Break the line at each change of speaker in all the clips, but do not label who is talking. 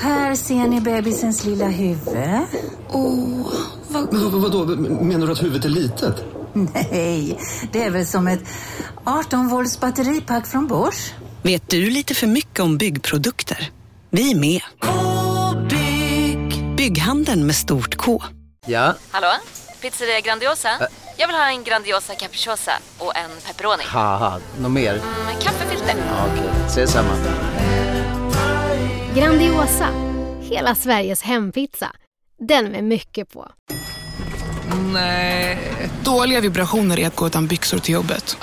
Här ser ni bebisens lilla huvud.
Åh, oh, vad...
Men, vadå, menar du att huvudet är litet?
Nej, det är väl som ett 18 volts batteripack från Bors.
Vet du lite för mycket om byggprodukter? Vi är med. -bygg. Bygghandeln med stort K.
Ja?
Hallå? Pizzeria Grandiosa? Ä Jag vill ha en Grandiosa capriciosa och en pepperoni.
Ha, ha. Något mer?
Mm, kaffefilter.
Ja, Okej, okay. ses samma.
Grandiosa, hela Sveriges hempizza. Den med mycket på.
Nej. Dåliga vibrationer är att gå utan byxor till jobbet.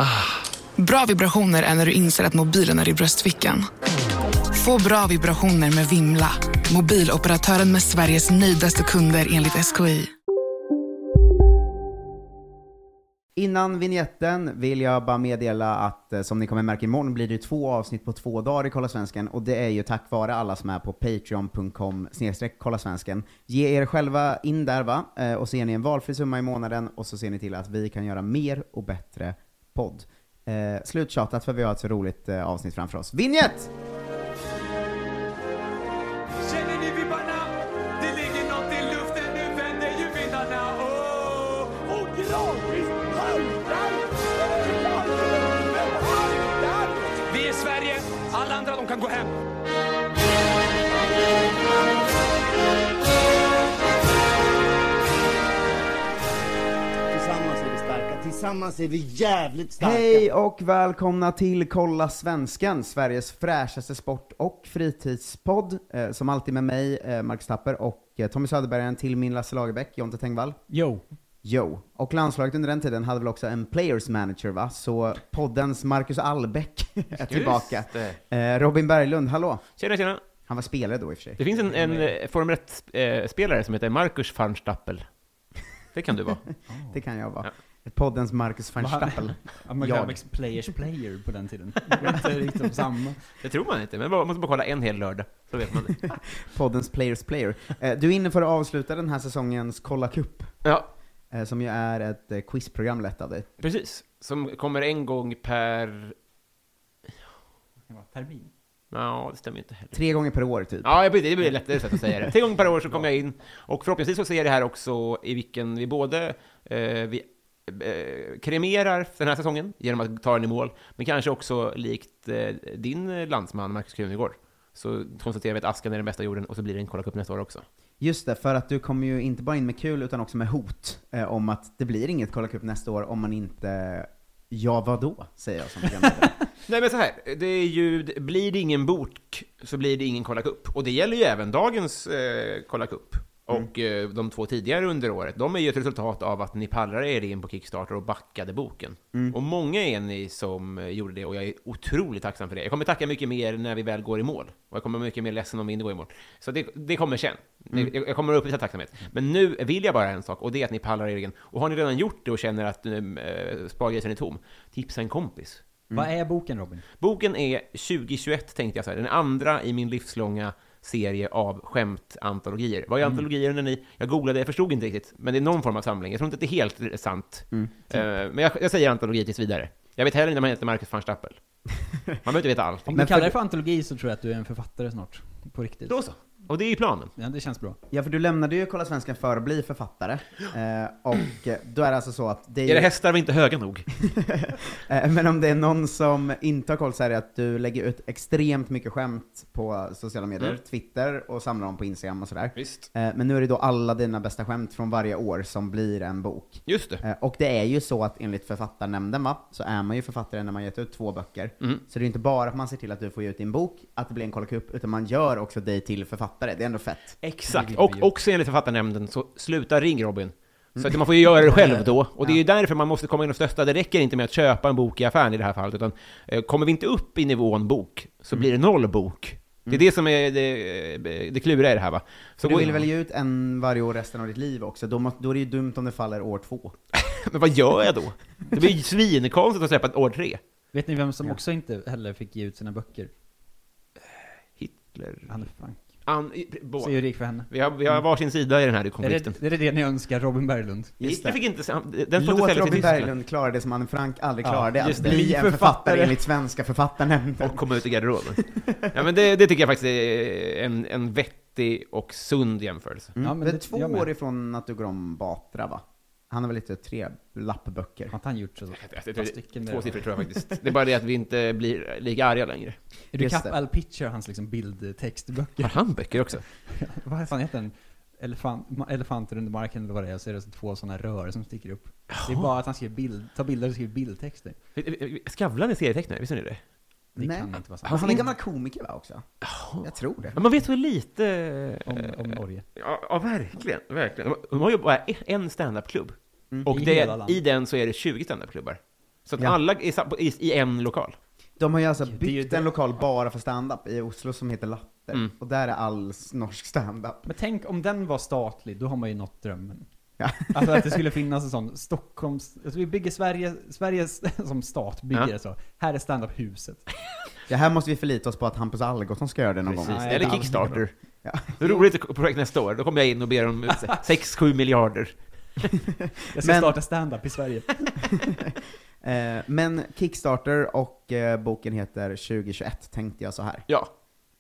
Bra vibrationer är när du inser att mobilen är i bröstfickan. Få bra vibrationer med Vimla. Mobiloperatören med Sveriges nöjdaste kunder enligt SKI.
Innan vignetten vill jag bara meddela att eh, som ni kommer märka imorgon blir det två avsnitt på två dagar i Kolla Svensken och det är ju tack vare alla som är på patreon.com kolla svensken. Ge er själva in där va, Eh, och ser ni en valfri summa i månaden och så ser ni till att vi kan göra mer och bättre podd. Eh, sluttjatat för vi har ett så roligt eh, avsnitt framför oss. Vignett!
Känner ni vibbarna? Det ligger nåt i luften, nu vänder ju vindarna. Åh, oh, och Granqvist haltar! haltar! Vi är Sverige, alla andra de kan gå hem.
Tillsammans är vi starka, tillsammans är vi jävligt starka.
Hej och välkomna till Kolla Svenskan, Sveriges fräschaste sport och fritidspodd. Eh, som alltid med mig, eh, Marcus Tapper, och eh, Tommy Söderbergen till min Lasse Lagerbäck, Jonte Tengvall.
Jo.
Jo. Och landslaget under den tiden hade väl också en players manager va? Så poddens Marcus Albeck är tillbaka. Eh, Robin Berglund, hallå!
Tjena, tjena!
Han var spelare då i och för sig.
Det finns en, en eh, Formel 1-spelare som heter Marcus van Stappel. Det kan du vara.
Det kan jag vara. Poddens Marcus van Stappel.
Amerikansk players player på den tiden. Det var inte riktigt samma.
Det tror man inte, men man måste bara kolla en hel lördag, så vet man det.
Poddens Players Player. Eh, Du är inne för att avsluta den här säsongens Kolla Cup,
Ja,
eh, som ju är ett eh, quizprogram lett av dig.
precis. Som kommer en gång per...
Det var termin.
Ja, det stämmer ju inte heller.
Tre gånger per år typ.
Ja, jag blir- det blir lättare sätt att säga det. Tre gånger per år så kommer jag in, och förhoppningsvis så ser det här också i vilken vi både eh, vi, eh, kremerar den här säsongen genom att ta den i mål, men kanske också likt eh, din landsman Marcus Krunegård, så konstaterar vi att askan är den bästa jorden, och så blir det en Kolla Cup nästa år också.
Just det, för att du kommer ju inte bara in med kul utan också med hot eh, om att det blir inget Kolla Cup nästa år om man inte Ja, vadå? Säger jag som programledare.
Nej men så här, det är ju, det- blir det ingen bok så blir det ingen Kolla Cup. Och det gäller ju även dagens eh, Kolla Cup.
Mm.
Och eh, de två tidigare under året, de är ju ett resultat av att ni pallrade er in på Kickstarter och backade boken.
Mm.
Och många är ni som eh, gjorde det, och jag är otroligt tacksam för det. Jag kommer tacka mycket mer när vi väl går i mål. Och jag kommer vara mycket mer ledsen om vi inte går i mål. Så det, det kommer sen. Jag, jag kommer att uppvisa tacksamhet. Men nu vill jag bara en sak, och det är att ni pallar er egen. Och har ni redan gjort det och känner att eh, spargrisen är tom, tipsa en kompis.
Vad är boken Robin?
Boken är 2021 tänkte jag så här, den andra i min livslånga serie av skämtantologier. Vad är
Mm.
antologier undrar ni? Jag googlade, jag förstod inte riktigt, men det är någon form av samling. Jag tror inte att det är helt sant.
Mm.
Eh, men jag, jag säger antologi tills vidare. Jag vet heller inte om han heter Marcus van Stappel. Man behöver inte veta allt.
Om
Men
du kallar
för-
det för antologi så tror jag att du är en författare snart. På riktigt.
Då så. Och det är ju planen.
Ja, det känns bra.
ja, för du lämnade ju Kolla Svenskan för att bli författare. Eh, och eh, då är det alltså så att det är, ju-
Era hästar var inte höga nog.
Eh, Men om det är någon som inte har koll så är det att du lägger ut extremt mycket skämt på sociala medier,
Mm.
Twitter och samlar dem på Instagram och sådär.
Visst.
Eh, Men nu är det då alla dina bästa skämt från varje år som blir en bok.
Just det.
Eh, Och det är ju så att enligt författarnämnden va, så är man ju författare när man gett ut två böcker.
Mm.
Så det är inte bara att man ser till att du får ge ut din bok, att det blir en kolla upp, utan man gör också dig till författare. Det är ändå fett.
Exakt, och också enligt författarnämnden så sluta ring Robin. Mm. Så att man får ju göra det själv då. Och det är ju därför man måste komma in och stötta. Det räcker inte med att köpa en bok i affären i det här fallet, utan eh, kommer vi inte upp i nivån bok så blir det noll bok. Det är det som är det, det kluriga i det här va? Så
Så du
gå-
vill väl ge ut en varje år resten av ditt liv också? Då, må, då är det ju dumt om det faller år två.
Men vad gör jag då? Det blir ju svinkonstigt att släppa ett år tre.
Vet ni vem som också inte heller fick ge ut sina böcker?
Hitler...
Anne Frank.
An, i- båda.
Så är ju rik för henne. Mm.
Vi har, vi har varsin sida i den här konflikten.
Är det är det ni önskar Robin Berglund?
Just det.
Jag fick inte... se- Den står inte
Låt
sälja till
Robin
Tyskland.
Berglund klara det som Anne Frank aldrig
Ja,
klarade, att
just det.
bli
Bli
en
författare.
författare enligt Svenska författarnämnden.
Och komma ut i garderoben. ja, men det, det tycker jag faktiskt är en, en vettig och sund jämförelse.
Mm.
Ja, men
det är
det-
två
jag med.
år ifrån att du går om Batra va? Han har väl lite tre lappböcker?
Har inte han gjort så?
Jag tror,
Ett par stycken
två
där.
siffror tror jag faktiskt. Det är bara det att vi inte blir lika arga längre.
Är du
Just
Kapp
det.
Al Pitcher, hans liksom bildtextböcker?
Har han böcker också?
Vad fan heter den? Elefant, ma- elefanter under marken eller vad det är, så är det så två sådana rör som sticker upp. Det är bara att han skriver bild, tar bilder och skriver bildtexter.
Skavlan är serietecknare, visste ni det?
Det
Nej.
kan inte vara sant.
Han är en gammal komiker va också? Jag tror det.
Ja, Man vet så lite...
Om, om Norge.
Ja, ja, verkligen. verkligen. De- De har ju bara e- en standup-klubb. Och
I
det,
hela landet.
i den så är det 20 standup-klubbar. Så att
Ja.
alla är sa- på- i, i en lokal.
De har ju alltså
det är ju
byggt
det.
en lokal bara för stand-up i Oslo som heter Latter,
Mm.
och där är all norsk stand-up.
Men tänk om den var statlig, då har man ju nått drömmen.
Ja.
Alltså att det skulle finnas en sån Stockholms... Alltså vi bygger Sverige, Sverige som stat bygger
Ja.
det så. Här är standup-huset.
Det här måste vi förlita oss på att Hampus Algotsson ska göra det någon gång.
Precis.
Nej,
Eller
det är
Kickstarter.
Ja.
Det är roligt projekt nästa år. Då kommer jag in och ber om 6-7 miljarder.
Jag ska
Men-
starta stand-up i Sverige.
Eh, men Kickstarter och eh, boken heter 2021, tänkte jag så här.
Ja.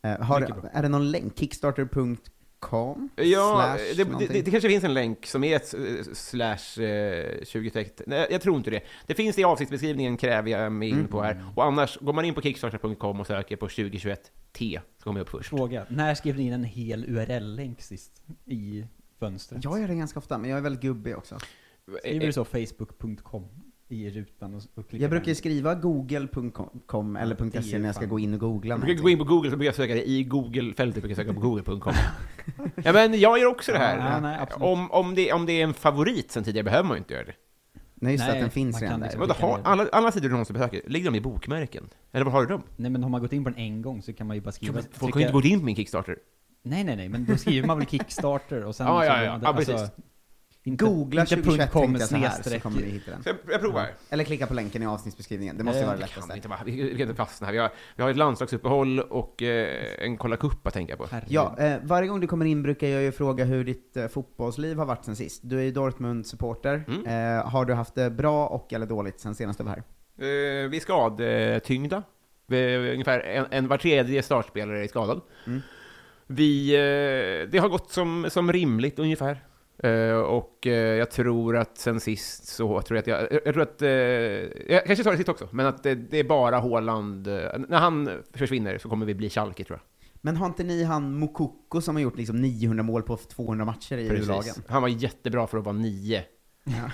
Eh, har,
Mycket bra.
är det någon länk? Kickstarter.com?
Ja,
Slash
det,
någonting?
det, det kanske finns en länk som är ett eh, slash eh, 20 text. Nej, jag tror inte det. Det finns det i avsiktsbeskrivningen kräver jag mig
Mm.
in på här. Och annars, går man in på kickstarter.com och söker på 2021T så kommer jag upp först.
Fråga. När skrev ni in en hel URL-länk sist? I fönstret?
Jag gör det ganska ofta, men jag är väldigt gubbig också.
Skriver du så
Eh,
facebook.com i rutan och, och klickar
Jag brukar
hem?
ju skriva google.com eller .se när jag ska gå in och googla
Jag brukar gå in på Google så brukar jag söka det i Google-fältet, brukar jag söka på google.com. ja, men jag gör också det här.
Ja, nej, absolut.
om, om, det, om det är en favorit sen tidigare behöver man ju inte göra det.
Nej just det,
Nej,
att den finns
man
redan
kan
där.
liksom-
Vadå, har, alla, alla sidor du någonsin besöker, ligger de i bokmärken? Eller var har du dem?
Nej men har man gått in på den en gång så kan man ju bara
Ja,
skriva...
men Folk har ju inte gått in på min Kickstarter.
Nej nej nej, men då skriver man väl Kickstarter och sen...
Ja,
så
ja,
går
ja.
man-
Ja, precis.
inte,
Googla
inte
2021
.com
tänkte jag så här, så
snedstreck.
kommer ni hitta den.
Så jag, jag provar.
Eller klicka på länken i avsnittsbeskrivningen, det måste ju vara det
Vi kan
lättaste.
inte bara, vi, vi kan inte fastna här. Vi har, vi har ett landslagsuppehåll och eh, en Kolla Cup att tänka på.
Herregud.
Ja, eh, varje gång du kommer in brukar jag ju fråga hur ditt eh, fotbollsliv har varit sen sist. Du är ju Dortmund-supporter.
Mm.
Eh, har du haft det bra och eller dåligt sen senast du var här?
Eh, vi är skadetyngda. Vi, ungefär en, en var tredje startspelare är skadad.
Mm.
Vi, eh, det har gått som, som rimligt ungefär. Eh, och eh, jag tror att sen sist så tror jag att jag, jag, jag tror att, eh, jag kanske sa det sist också, men att det, det är bara Haaland, eh, när han försvinner så kommer vi bli Schalke tror jag.
Men har inte ni han Mokoko som har gjort liksom 900 mål på 200 matcher i U-lagen?
Han var jättebra för att vara nio.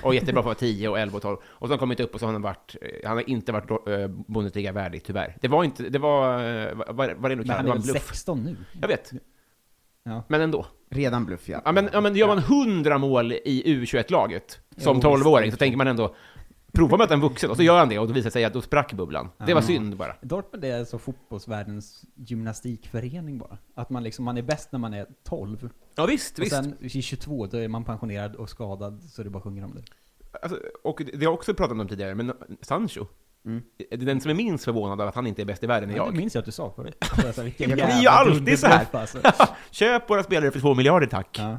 Och jättebra för att vara 10 och 11 och 12. Och så har han kommit upp och så har han varit, eh, han har inte varit eh, Bundesliga värdig tyvärr. Det var inte, det var, eh, vad vad är det du
Men
kallar
han
det?
är
var en
väl
bluff.
16 nu?
Jag vet.
Ja.
Men ändå.
Redan bluff ja.
Ja men, ja, men gör man 100 mål i U21-laget som 12-åring så tänker man ändå, prova med att en vuxen. Och så gör han det och då visar det sig att då sprack bubblan. Det var synd bara.
Dortmund är alltså fotbollsvärldens gymnastikförening bara. Att man liksom, man är bäst när man är 12.
Ja visst,
Och
visst.
sen i 22, då är man pensionerad och skadad, så det bara sjunger om det.
Alltså, och det det har jag också pratat om tidigare, men Sancho.
Mm.
Den som är minst förvånad av att han inte är bäst i världen är
Ja,
jag.
det minns jag att du sa förut. Alltså, vilken
Det
jävla
är ju alltid så här.
dunderbluff, alltså.
Köp våra spelare för två miljarder tack.
Ja.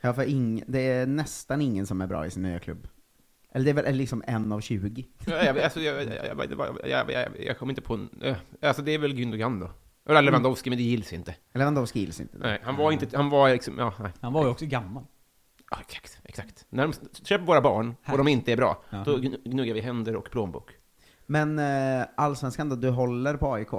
ja för ing, det är nästan ingen som är bra i sin nya klubb. Eller det är väl liksom en av 20.
Ja, jag, alltså, jag, jag, jag, jag, jag, jag, jag kommer inte på en, eh, Alltså det är väl Gündogan då. Eller Lewandowski, men det gills inte.
Eller Mm. Lewandowski gills inte.
Nej, han var inte, han var liksom, ja, nej.
Han var ju också gammal.
Ja, exakt, exakt. När de s- köper våra barn och de inte är bra,
Ja.
då gn- gnuggar vi händer och plånbok.
Men eh, Allsvenskan då, du håller på AIK.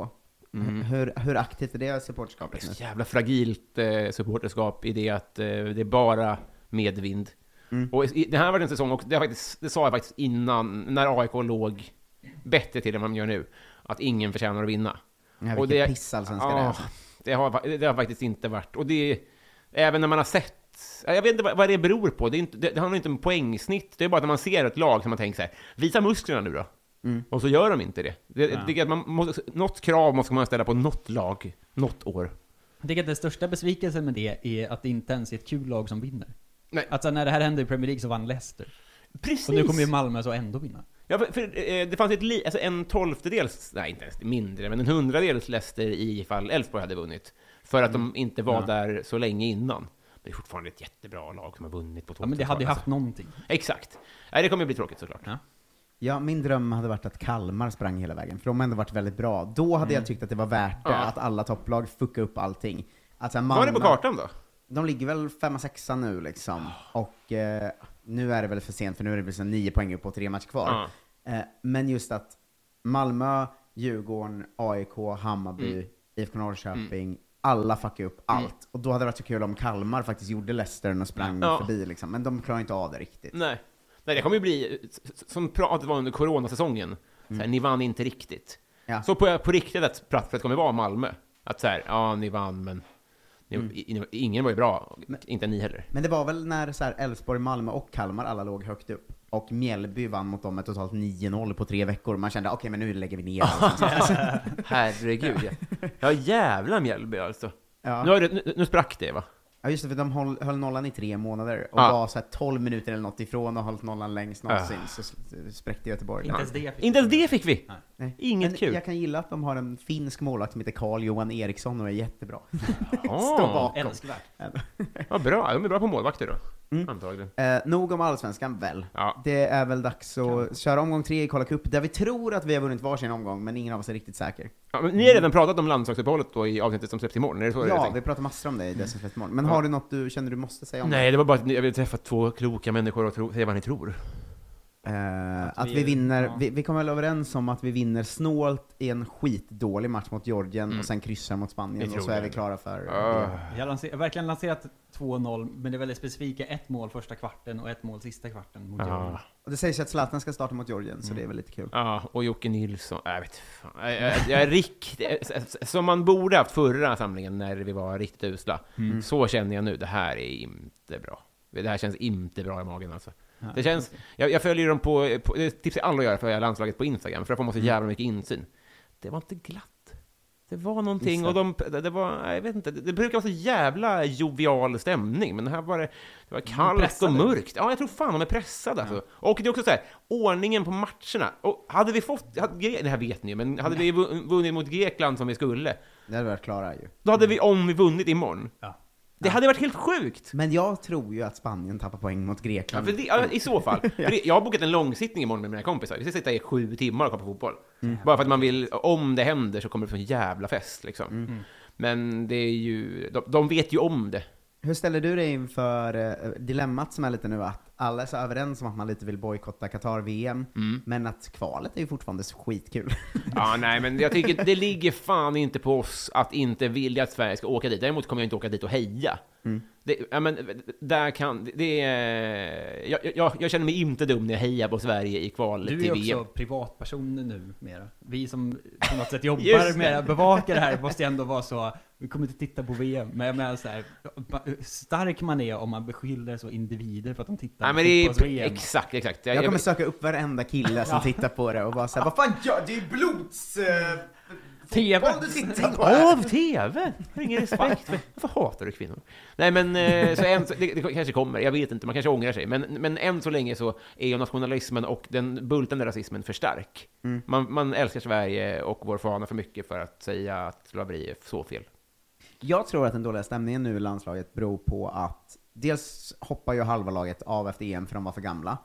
Hur, hur aktivt är det supporterskapet
Mm. Det är
nu?
så jävla fragilt eh, supporterskap i det att eh, det är bara medvind.
Mm.
Och i, det här var en säsong också, det, har faktiskt, det sa jag faktiskt innan, när AIK låg bättre till än vad de gör nu, att ingen förtjänar att vinna.
Ja,
och
vilken pissallsvenska det är. alltså.
ja, det har, fa- det har faktiskt inte varit, och det, även när man har sett Ja, jag vet inte vad vad det beror på. Det, är inte, det, det handlar inte om poängsnitt. Det är bara att när man ser ett lag som man tänker så här, visa musklerna nu då.
Mm.
Och så gör de inte det. det, jag tycker att man måste, något krav måste man ställa på något lag, något år.
Jag tycker att den största besvikelsen med det är att det inte ens är ett kul lag som vinner.
Nej.
Alltså när det här hände i Premier League så vann Leicester.
Precis!
Och nu kommer ju Malmö så ändå vinna.
ja, för, för, eh, det fanns ett li, alltså en tolftedels, nej inte ens mindre, men en hundradels Leicester i ifall Elfsborg hade vunnit.
För att de inte var
Ja.
där så länge innan. Men det är fortfarande ett jättebra lag som har vunnit på alltså.
Ja, men det hade ju haft någonting.
Exakt. Nej, det kommer ju bli tråkigt såklart.
Ja, min dröm hade varit att Kalmar sprang hela vägen, för de har ändå varit väldigt bra. Då hade
Mm.
jag tyckt att det var värt det,
Ja.
att alla topplag fuckade upp allting. Att, så här,
Var är det på
Malmö-
kartan då?
De ligger väl femma, sexa nu liksom. Och eh, nu är det väl för sent, för nu är det väl så nio poäng upp och tre matcher kvar. Eh, men just att Malmö, Djurgården, AIK, Hammarby,
Mm.
IFK Norrköping, alla fuckade upp allt. Och då hade det varit så kul om Kalmar faktiskt gjorde Leicester och sprang
Ja.
förbi liksom. Men de klarar inte av det riktigt.
Nej. Nej, det kommer ju bli eh, s- som pratet var under coronasäsongen. Så här, Ni vann inte riktigt. Så på, på riktigt att pratet kommer vara Malmö. Att så här, ja, ni vann, men ni,
Mm.
i- ni, ingen var ju bra. inte ni heller.
Men det var väl när så här Elfsborg, Malmö och Kalmar alla låg högt upp. Och Mjällby vann mot dem med totalt 9-0 på tre veckor. Man kände okej, men nu lägger vi ner allt."
Herregud, ja. Ja, jävla Mjällby alltså.
Ja.
Nu, har det, nu, nu sprack det, va?
Ja just det, för de höll, höll nollan i tre månader och
Ja.
var så här 12 minuter eller något ifrån och höll nollan längst någonsin.
Ah.
Så s- spräckte Göteborg.
Inte ens det fick Inte ens det fick vi!
Nej.
Inget
Men
kul.
Jag kan gilla att de har en finsk målvakt som heter Carl-Johan Eriksson och är jättebra.
Ah,
Står bakom.
älskvärt. Vad bra, de är bra på målvakter då. Antagligen.
Eh, nog om Allsvenskan väl?
Ja.
Det är väl dags att köra omgång tre i Kolla Cup, där vi tror att vi har vunnit varsin omgång, men ingen av oss är riktigt säker.
Ja, men ni har redan pratat om landslagsuppehållet då i avsnittet som släpps imorgon, är det så? det är
Ja,
tänkt?
vi pratar massor om det i det som släpps imorgon. Men
Mm. Ja.
har du något du känner du måste säga om
Nej, det var bara att ni- jag ville träffa två kloka människor och tro, säga vad ni tror.
Eh, att vi vinner, vi, vi kommer väl överens om att vi vinner snålt i en skitdålig match mot Georgien
Mm.
och sen kryssar mot Spanien och så är vi klara för...
Ah.
Jag har lanser- jag har verkligen lanserat 2-0, men det är väldigt specifika. Ett mål första kvarten och ett mål sista kvarten mot
Ja.
Djurgården.
Och det sägs ju att Zlatan ska starta mot Georgien, så det är väl lite kul.
Ja, och Jocke Nilsson. Nej, Jag vet fan. Jag, jag, jag är riktigt... Som man borde haft förra samlingen när vi var riktigt usla.
Mm.
Så känner jag nu. Det här är inte bra. Det här känns inte bra i magen alltså.
Nej.
Det känns... Jag, jag följer dem på... på det tipsar jag alla att göra för jag har landslaget på Instagram, för där får man så
Mm.
jävla mycket insyn. Det var inte glatt. Det var någonting
Gissa.
och de... Det, det var... nej, Jag vet inte. Det, det brukar vara så jävla jovial stämning, men här var det... Det var kallt och
pressade.
mörkt. Ja, jag tror fan de är pressade alltså. Och det är också så här, ordningen på matcherna. Och hade vi fått... Hade, Gre- det här vet ni ju, men hade vi vu- vunnit mot Grekland som vi skulle,
Det hade varit klara ju.
då hade vi om vi vunnit imorgon. Det hade varit helt sjukt!
Men jag tror ju att Spanien tappar poäng mot
Ja,
Grekland.
för det, ja, I så fall. För det, jag har bokat en långsittning imorgon med mina kompisar. Vi ska sitta i sju timmar och kolla på fotboll. Bara för att man vill, om det händer så kommer det bli en jävla fest liksom. Men det är ju, de, de vet ju om det.
Hur ställer du dig inför eh, dilemmat som är lite nu att alla är så överens om att man lite vill bojkotta Qatar-VM, men att kvalet är ju fortfarande så skitkul.
Mm. Ja, nej, men jag tycker det ligger fan inte på oss att inte vilja att Sverige ska åka dit. Däremot kommer jag inte åka dit och heja. Det, ja, men, där kan, det är, jag, jag, jag känner mig inte dum när jag hejar på Sverige i kvalet
Du
till
är
VM.
också privatperson nu mera. Vi som på något sätt
Just
jobbar
det.
med att bevaka det här måste ändå vara så, vi kommer inte titta på VM, men jag menar så här, hur stark man är om man beskyller så individer för att de tittar
Nej,
på
men det är,
fotbolls-VM.
exakt, exakt.
Jag kommer söka upp varenda kille som tittar på det och bara såhär, vad fan gör Det är ju blods... eh,
TV!
fotboll du ska titta på här."
Av TV! Jag har ingen respekt för... Varför hatar du kvinnor? Nej, men eh, så än, så- det, det kanske kommer. Jag vet inte, man kanske ångrar sig. Men, men än så länge så är ju nationalismen och den bultande rasismen för stark.
Mm.
Man, man älskar Sverige och vår fana för mycket för att säga att slaveri är så fel.
Jag tror att den dåliga stämningen nu i landslaget beror på att dels hoppar ju halva laget av efter EM för de var för gamla.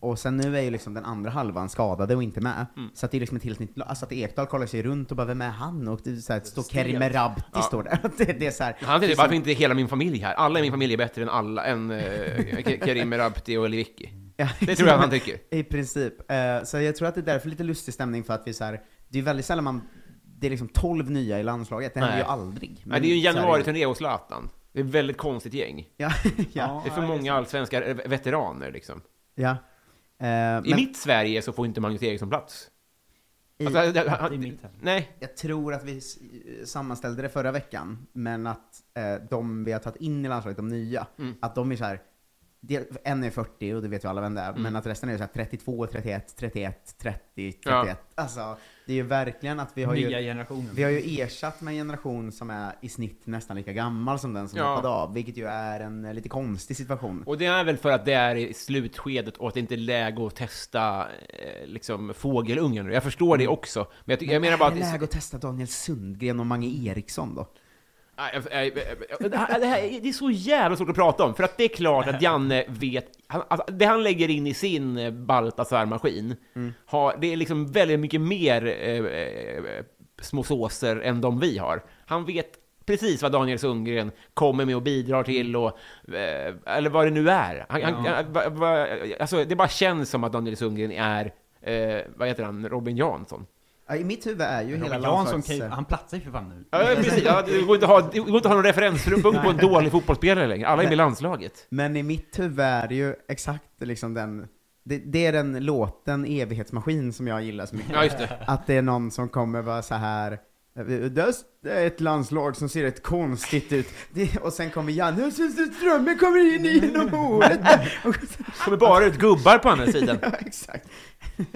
Och sen nu är ju liksom den andra halvan skadade och inte med.
Mm.
Så att det är liksom ett helt nytt lag. Alltså att Ekdal kollar sig runt och bara vem är han? Och det är så här, står Kerim Merabti
Ja.
står där. Det, det är så här,
Han typ-
det
säger
är
varför
som-
inte hela min familj här? Alla i min familj är bättre än alla, än eh, Ke- Kerim Rabti och Lewicki.
Ja,
Det tror jag han tycker.
I princip. Eh, Så jag tror att det är därför lite lustig stämning för att vi så här, det är väldigt sällan man, det är liksom 12 nya i landslaget. Det händer ju
Nej.
aldrig.
Nej, det är ju en
så här-
januariturné hos Zlatan. Det är ett väldigt konstigt gäng.
Ja, ja,
Det är för många allsvenska veteraner liksom.
ja. Eh,
I
men-
mitt Sverige så får inte Magnus Eriksson plats.
I-
Alltså, det- han- nej.
Jag tror att vi s- sammanställde det förra veckan, men att eh, de vi har tagit in i landslaget, de nya,
Mm.
att de är så här. del- En är 40 och det vet ju alla vem det
Mm.
är, men att resten är så här 32, 31, 31, 30, 31. Alltså, det är ju verkligen att vi har
Nya
ju...
generationen.
Vi har ju ersatt med en generation som är i snitt nästan lika gammal som den som
Ja.
hoppade av, vilket ju är en eh, lite konstig situation.
Och det är väl för att det är i slutskedet och att det inte är läge att testa eh, liksom, fågelungen.
Mm.
Jag förstår det också. Men jag, ty- jag menar bara
är
att...
det läge att testa Daniel Sundgren och Mange Eriksson då?
Nej, jag- jag- jag- Det här, det här är- det är så jävla svårt att prata om, för att det är klart att Janne vet... Han, alltså, det han lägger in i sin eh, Baltasar-maskin, har, det är liksom väldigt mycket mer eh, eh, små såser än de vi har. Han vet precis vad Daniel Sundgren kommer med och bidrar till, och, eh, eller vad det nu är. Han, han,
Ja.
han- va, va, alltså, det bara känns som att Daniel Sundgren är, eh, vad heter han, Robin Jansson.
Ja, I mitt huvud är ju hela
Robin Jansson,
landslags-
kan ju- han platsar ju för fan nu.
Ja, precis. Ja, det, går inte att ha, det går inte att ha någon referenspunkt på en dålig fotbollsspelare längre. Alla är med i
Nej.
landslaget.
Men i mitt huvud är det ju exakt liksom den, det, det är den låten Evighetsmaskin som jag gillar så mycket.
Ja, just det.
Att det är någon som kommer vara så här. "Eh, "Det är ett landslag som ser rätt konstigt ut. Det, och sen kommer Janne och så strömmen kommer in genom hålet. Och så-
kommer bara ut gubbar på andra sidan.
Ja, exakt.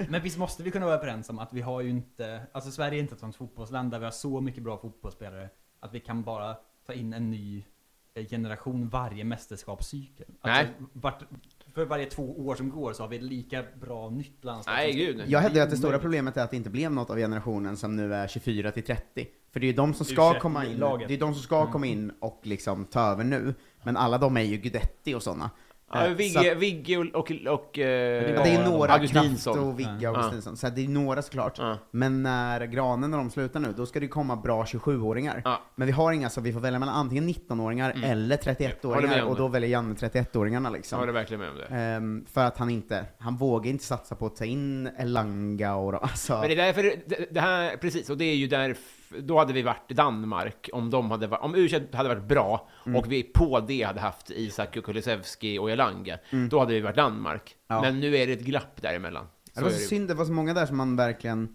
Men visst måste vi kunna vara överens om att vi har ju inte, alltså Sverige är inte ett sånt fotbollsland där vi har så mycket bra fotbollsspelare att vi kan bara ta in en ny eh, generation varje mästerskapscykel. Alltså,
Nej.
vart, för varje två år som går så har vi lika bra nytt landslag.
Nej,
som-
gud.
Jag hävdar ju att det
är
stora
omöjligt.
problemet är att det inte blev något av generationen som nu är 24 till 30. För det är ju de som
Ursäkta,
ska komma in,
laget.
det är de som
Mm.
ska komma in och liksom ta över nu. Men alla de är ju Guidetti och sådana.
Ja,
Eh, så
Vigge,
att-
Vigge och... och, och
Ja, det är ju några, Kraft
Augustinsson.
och Vigga och
Eh, Ja.
Augustinsson. Så det är några såklart.
Ja.
Men när Granen och de slutar nu, då ska det ju komma bra 27-åringar. Men vi har inga, så vi får välja mellan antingen 19-åringar eller
Mm. Håller med
31-åringar.
om
Och
det.
då väljer Janne
Ja,
31-åringarna
Jag
liksom.
håller verkligen med om det.
Ehm, för att han inte, han vågar inte satsa på att ta in Elanga och de- alltså.
Men det är därför, det, det här, precis, och det är ju därför, då hade vi varit i Danmark om de hade varit, om u hade varit bra
Mm.
och vi på det hade haft Isak och Kulusevski och Elanga, då hade vi varit Danmark.
Mm. Ja.
Men nu är det ett glapp däremellan.
det var
är
så
det ju.
synd, det var så många där som man verkligen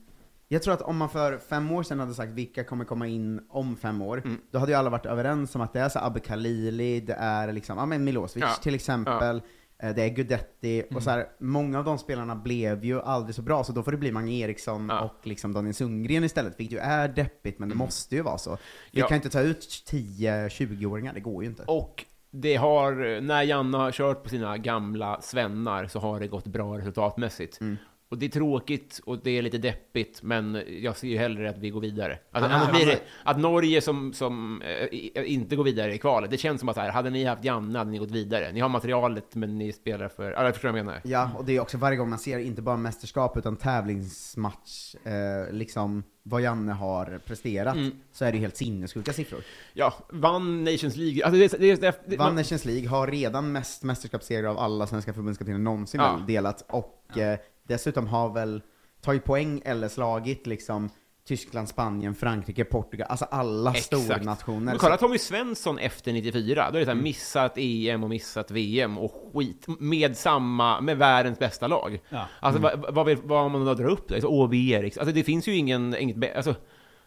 jag tror att om man för fem år sedan hade sagt vilka kommer komma in om fem år,
Mm.
då hade ju alla varit överens om att det är så Abbe Khalili, det är liksom, ja men Milosevic
Ja. Mm.
till exempel, eh, det är Gudetti, och så här, många av de spelarna blev ju aldrig så bra, så då får det bli Mange Eriksson
Ja. Mm.
och liksom Daniel Sundgren istället, vilket ju är deppigt, men det måste ju vara så. Vi
Ja.
kan inte ta ut 10-20-åringar, det går ju inte.
Och det har, när Janne har kört på sina gamla svennar så har det gått bra resultatmässigt.
Mm.
Och det är tråkigt och det är lite deppigt, men jag ser ju hellre att vi går vidare. Alltså,
Ja,
annars
men-
blir det, att Norge som, som eh, i- inte går vidare i kvalet, det känns som att så här, hade ni haft Janne hade ni gått vidare. Ni har materialet, men ni spelar för... Ja, jag förstår vad jag menar.
Ja, och det är också varje gång man ser, inte bara mästerskap utan tävlingsmatch, eh, liksom vad Janne har presterat,
Mm.
så är det ju helt sinnessjuka siffror.
Ja, vann Nations League. Alltså, det, är- det, är- det, det,
Vann
man,
Nations League, har redan mest mästerskapsserier av alla svenska förbundskaptener någonsin
Ja.
väl delat, och eh, dessutom har väl tagit poäng eller slagit liksom Tyskland, Spanien, Frankrike, Portugal, alltså alla stornationer.
Men kolla Tommy Svensson efter 94, då är det så här missat EM och missat VM och skit med samma, med världens bästa lag.
Ja.
Alltså
Mm.
vad, vad, vill- vad man då drar upp där, så Åby Eriksson, alltså det finns ju ingen, inget bä- alltså,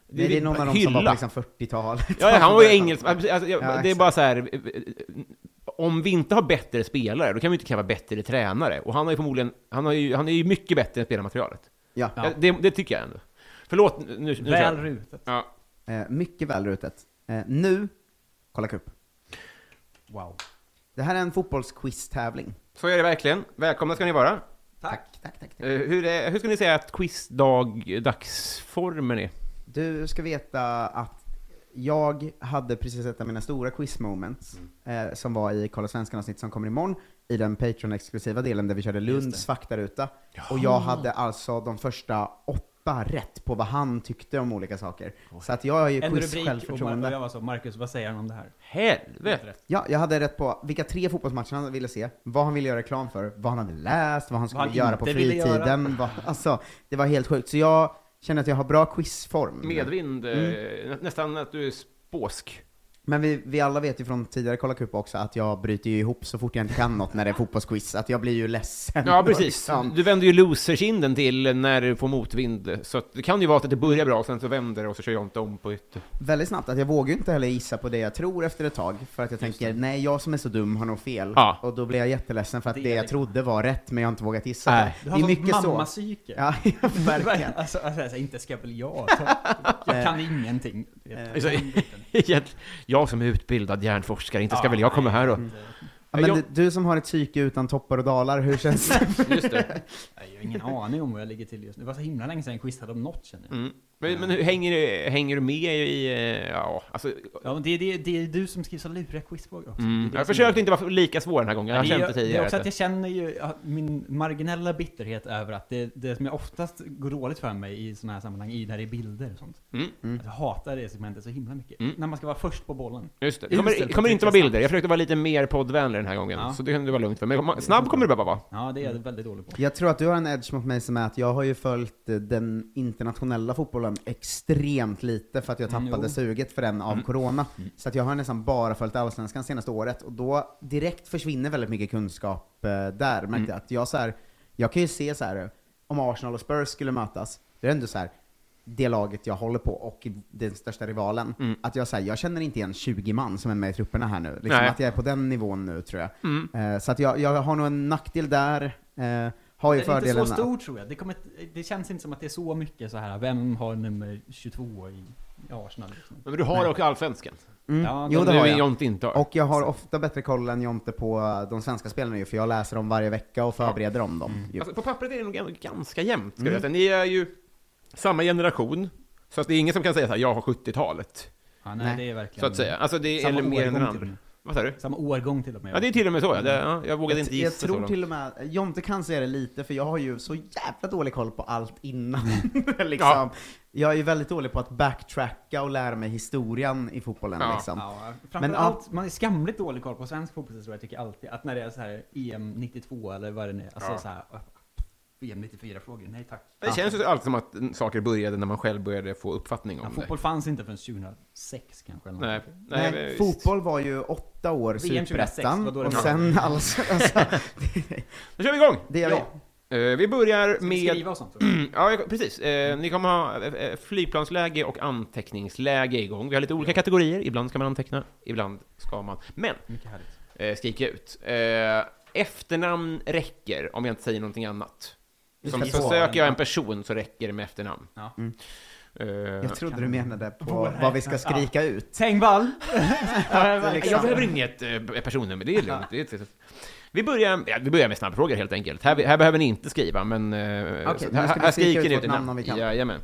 det, är, det är någon av dem som var på liksom 40-talet.
Ja, han var ju engelsk. Alltså, jag-
Ja,
det är
exakt.
bara så här. eh, eh, Om vi inte har bättre spelare, då kan vi inte kräva bättre tränare. Och han har ju förmodligen, han, har ju, han är ju mycket bättre än spelarmaterialet.
Ja.
Ja. Det, det tycker jag ändå. Förlåt, nu, nu kör
Väl
jag.
rutet.
Ja.
Eh, mycket välrutet. Eh, nu, kolla cup.
Wow.
Det här är en fotbollsquiz-tävling.
Så är det verkligen. Välkomna ska ni vara.
Tack.
Tack, tack, tack.
Eh, Hur, är, hur ska ni säga att quizdag, dagsformen är?
Du ska veta att jag hade precis ett av mina stora quiz-moments,
Mm.
eh, som var i Kolla Svenskan-avsnitt som kommer imorgon, i den Patreon-exklusiva delen där vi körde Lunds faktaruta. Och jag hade alltså de första åtta rätt på vad han tyckte om olika saker. Så att jag har ju
En rubrik och Mar- och jag
quiz-självförtroende.
var så, Marcus vad säger han om det här?
Helvete!
Ja, jag hade rätt på vilka tre fotbollsmatcher han ville se, vad han ville göra reklam för, vad han hade läst, vad han skulle
han
göra på
inte ville göra.
fritiden. Vad, alltså, det var helt sjukt. Så jag känner att jag har bra quizform.
Medvind, eh,
Mm.
nä- nästan att du är spåsk.
Men vi, vi alla vet ju från tidigare Kolla Cup också att jag bryter ju ihop så fort jag inte kan något när det är fotbollsquiz, att jag blir ju ledsen.
Ja,
och
precis.
liksom-
Du vänder ju loserkinden till när du får motvind. Så att det kan ju vara att det börjar bra, sen så vänder det och så kör jag inte om på ytter.
Väldigt snabbt, att jag vågar ju inte heller gissa på det jag tror efter ett tag, för att jag tänker nej, jag som är så dum har nog fel.
Ja.
Och då blir jag jätteledsen för att
Det
det,
är
jag
det.
trodde var rätt, men jag har inte vågat gissa.
Nej.
Du har
det är
sånt
mycket så.
mammapsyke.
Ja, verkligen.
Alltså, alltså, alltså, inte ska väl jag ta. Jag kan ingenting. Alltså,
Så- Egent- jag som är utbildad hjärnforskare, inte ska
Ja,
väl jag komma här och...
Ja, men
Jag-
du, du som har ett psyke utan toppar och dalar, hur känns det?
Just det.
Jag har ingen aning om vad jag ligger till just nu. Det var så himla länge sedan jag quizade om något känner jag.
Mm. Men, men hur hänger, du- hänger du med i... eh, Ja, alltså...
Ja, men det, det, det är du som skriver så luriga quizfrågor också. Det är
Mm.
det
Jag
som
försökte
är-
inte vara lika svår den här gången, jag har
Nej,
känt
det, är- det
det
är
tidigare.
också att jag känner ju att min marginella bitterhet över att det, det som jag oftast går dåligt för mig i sådana här sammanhang är ju när det är bilder och sånt.
Mm.
Att jag hatar det segmentet så himla mycket.
Mm.
När man ska vara först på bollen.
Just det. Det kommer,
Uselt
det
på
kommer
att
inte vara
trycka
bilder. Jag försökte vara lite mer poddvänlig den här gången,
Ja.
så det kan du vara lugnt för. Men kom- snabb kommer du behöva vara.
Ja, det är jag väldigt dålig på.
Jag tror att du har en edge mot mig som är att jag har ju följt eh, den internationella fotbollen extremt lite för att jag
Mm,
tappade
jo.
suget för den av corona. Så att jag har nästan bara följt allsvenskan senaste året och då direkt försvinner väldigt mycket kunskap eh, där. Märkte jag att jag så här, jag kan ju se så här om Arsenal och Spurs skulle mötas, det är ändå så här det laget jag håller på och den största rivalen. Att jag säger, jag känner inte igen 20 man som är med i trupperna här nu. Liksom
Nej.
att jag är på den nivån nu tror jag.
Mm.
Eh, Så att jag, jag har nog en nackdel där. Eh, har ju
det är inte
fördelen
så
att-
stor tror jag. Det, kommer, ett- det känns inte som att det är så mycket så här. vem har nummer 22 i i Arsenal? Liksom.
Men du har också allsvenskan.
Mm.
Ja,
jo,
de-
det har
nu är
jag.
Jonte inte har.
Och jag har ofta bättre koll än Jonte på eh, de svenska spelarna ju, för jag läser dem varje vecka och förbereder om dem. Ju.
Alltså, på pappret är det nog gan- ganska jämnt, skulle
Mm.
jag säga. Ni är ju samma generation, så att det är ingen som kan säga så här, jag har 70-talet,
Ja, nej,
Nej.
det är verkligen...
så att säga. Alltså, det är
Samma
eller mer
årgång
än den
till och
andra.
med.
Vad sa du?
Samma årgång till och med. Mm.
Ja, det är till och med så. Ja. Det, ja, jag vågade
Jag,
inte gissa
jag
så
tror
långt.
till och med, Jonte kan säga det lite, för jag har ju så jävla dålig koll på allt innan. liksom.
Ja.
Jag är ju väldigt dålig på att backtracka och lära mig historien i fotbollen.
Ja.
Liksom.
Ja,
Men
framförallt, man är skamligt dålig koll på svensk fotboll tror jag tycker alltid. Att när det är så här EM 92 eller vad det nu är. Alltså
Ja.
så här, äh, EM 94 frågor, nej tack.
Det känns ju alltid som att saker började när man själv började få uppfattning
Ja,
om det.
fotboll fanns inte förrän 2006 kanske. eller
Nej,
något.
nej,
Nej,
nej
fotboll var ju åtta år
VM 2006,
superettan,
vad då det
och
var.
sen alls... Alltså, det,
Nu kör vi igång!
det gör vi.
Ja.
Eh, vi börjar
Ska vi
med...
skriva och sånt? eller?
Ja, jag- precis. Eh, ni kommer ha eh, eh, flygplansläge och anteckningsläge igång. Vi har lite olika kategorier. Ibland ska man anteckna, ibland ska man... Men,
Mycket härligt.
eh, skrika ut. Eh, efternamn räcker om jag inte säger någonting annat.
Vi
Som,
ska
så
få
söker
den.
jag en person så räcker det med efternamn.
Ja.
Eh,
Jag trodde du menade på
Våra
vad vi ska
räknas-
skrika ut.
Tengvall!
liksom-
Jag behöver inget eh, personnummer, det är lugnt. Det är, vi, börjar, ja, vi börjar med snabbfrågor helt enkelt. Här, här behöver ni inte skriva, men... eh,
Okej,
så-
nu ska
här,
vi
här
skrika
skriker
ut
ni
vårt
ut
namn om vi kan.
Jajamän.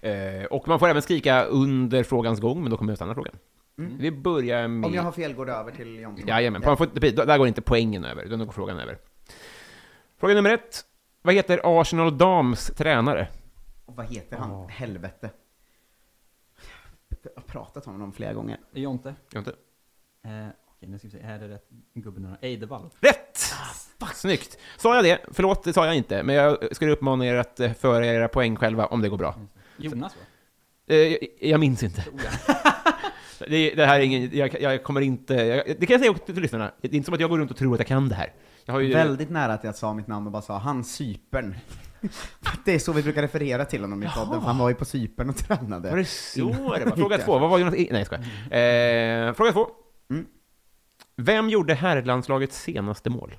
Eh, och man får även skrika under frågans gång, men då kommer jag stanna frågan. Vi börjar med...
Mm. Om jag har fel går det över till Jonte.
Jajamän, man får, inte- precis, där går inte poängen över, utan då går frågan över. Fråga nummer ett. Vad heter Arsenal Dams tränare?
Och vad heter han? Helvete. Jag har pratat om honom flera gånger.
Jonte.
Jag vet inte.
Eh, Okej, nu ska vi se. Här är rätt gubben. här. Eidevall. Ah,
Rätt! Snyggt! Sa jag det? Förlåt, det sa jag inte. Men jag skulle uppmana er att eh, föra era poäng själva om det går bra.
Jonas Oh, va?
Eh, Jag, jag minns inte. Det, det här är ingen... Jag, jag kommer inte... Jag, det kan jag säga också till lyssnarna. Det är inte som att jag går runt och tror att jag kan det här. Jag har ju...
Väldigt nära att jag sa mitt namn och bara sa han Cypern. det är så vi brukar referera till honom i podden, för han var ju på Cypern och tränade.
Var det så
Innan-
det var? Fråga två. Vad var Jonas... E- Nej, jag skojar. Eh, fråga två.
Mm.
Vem gjorde herrlandslagets senaste mål?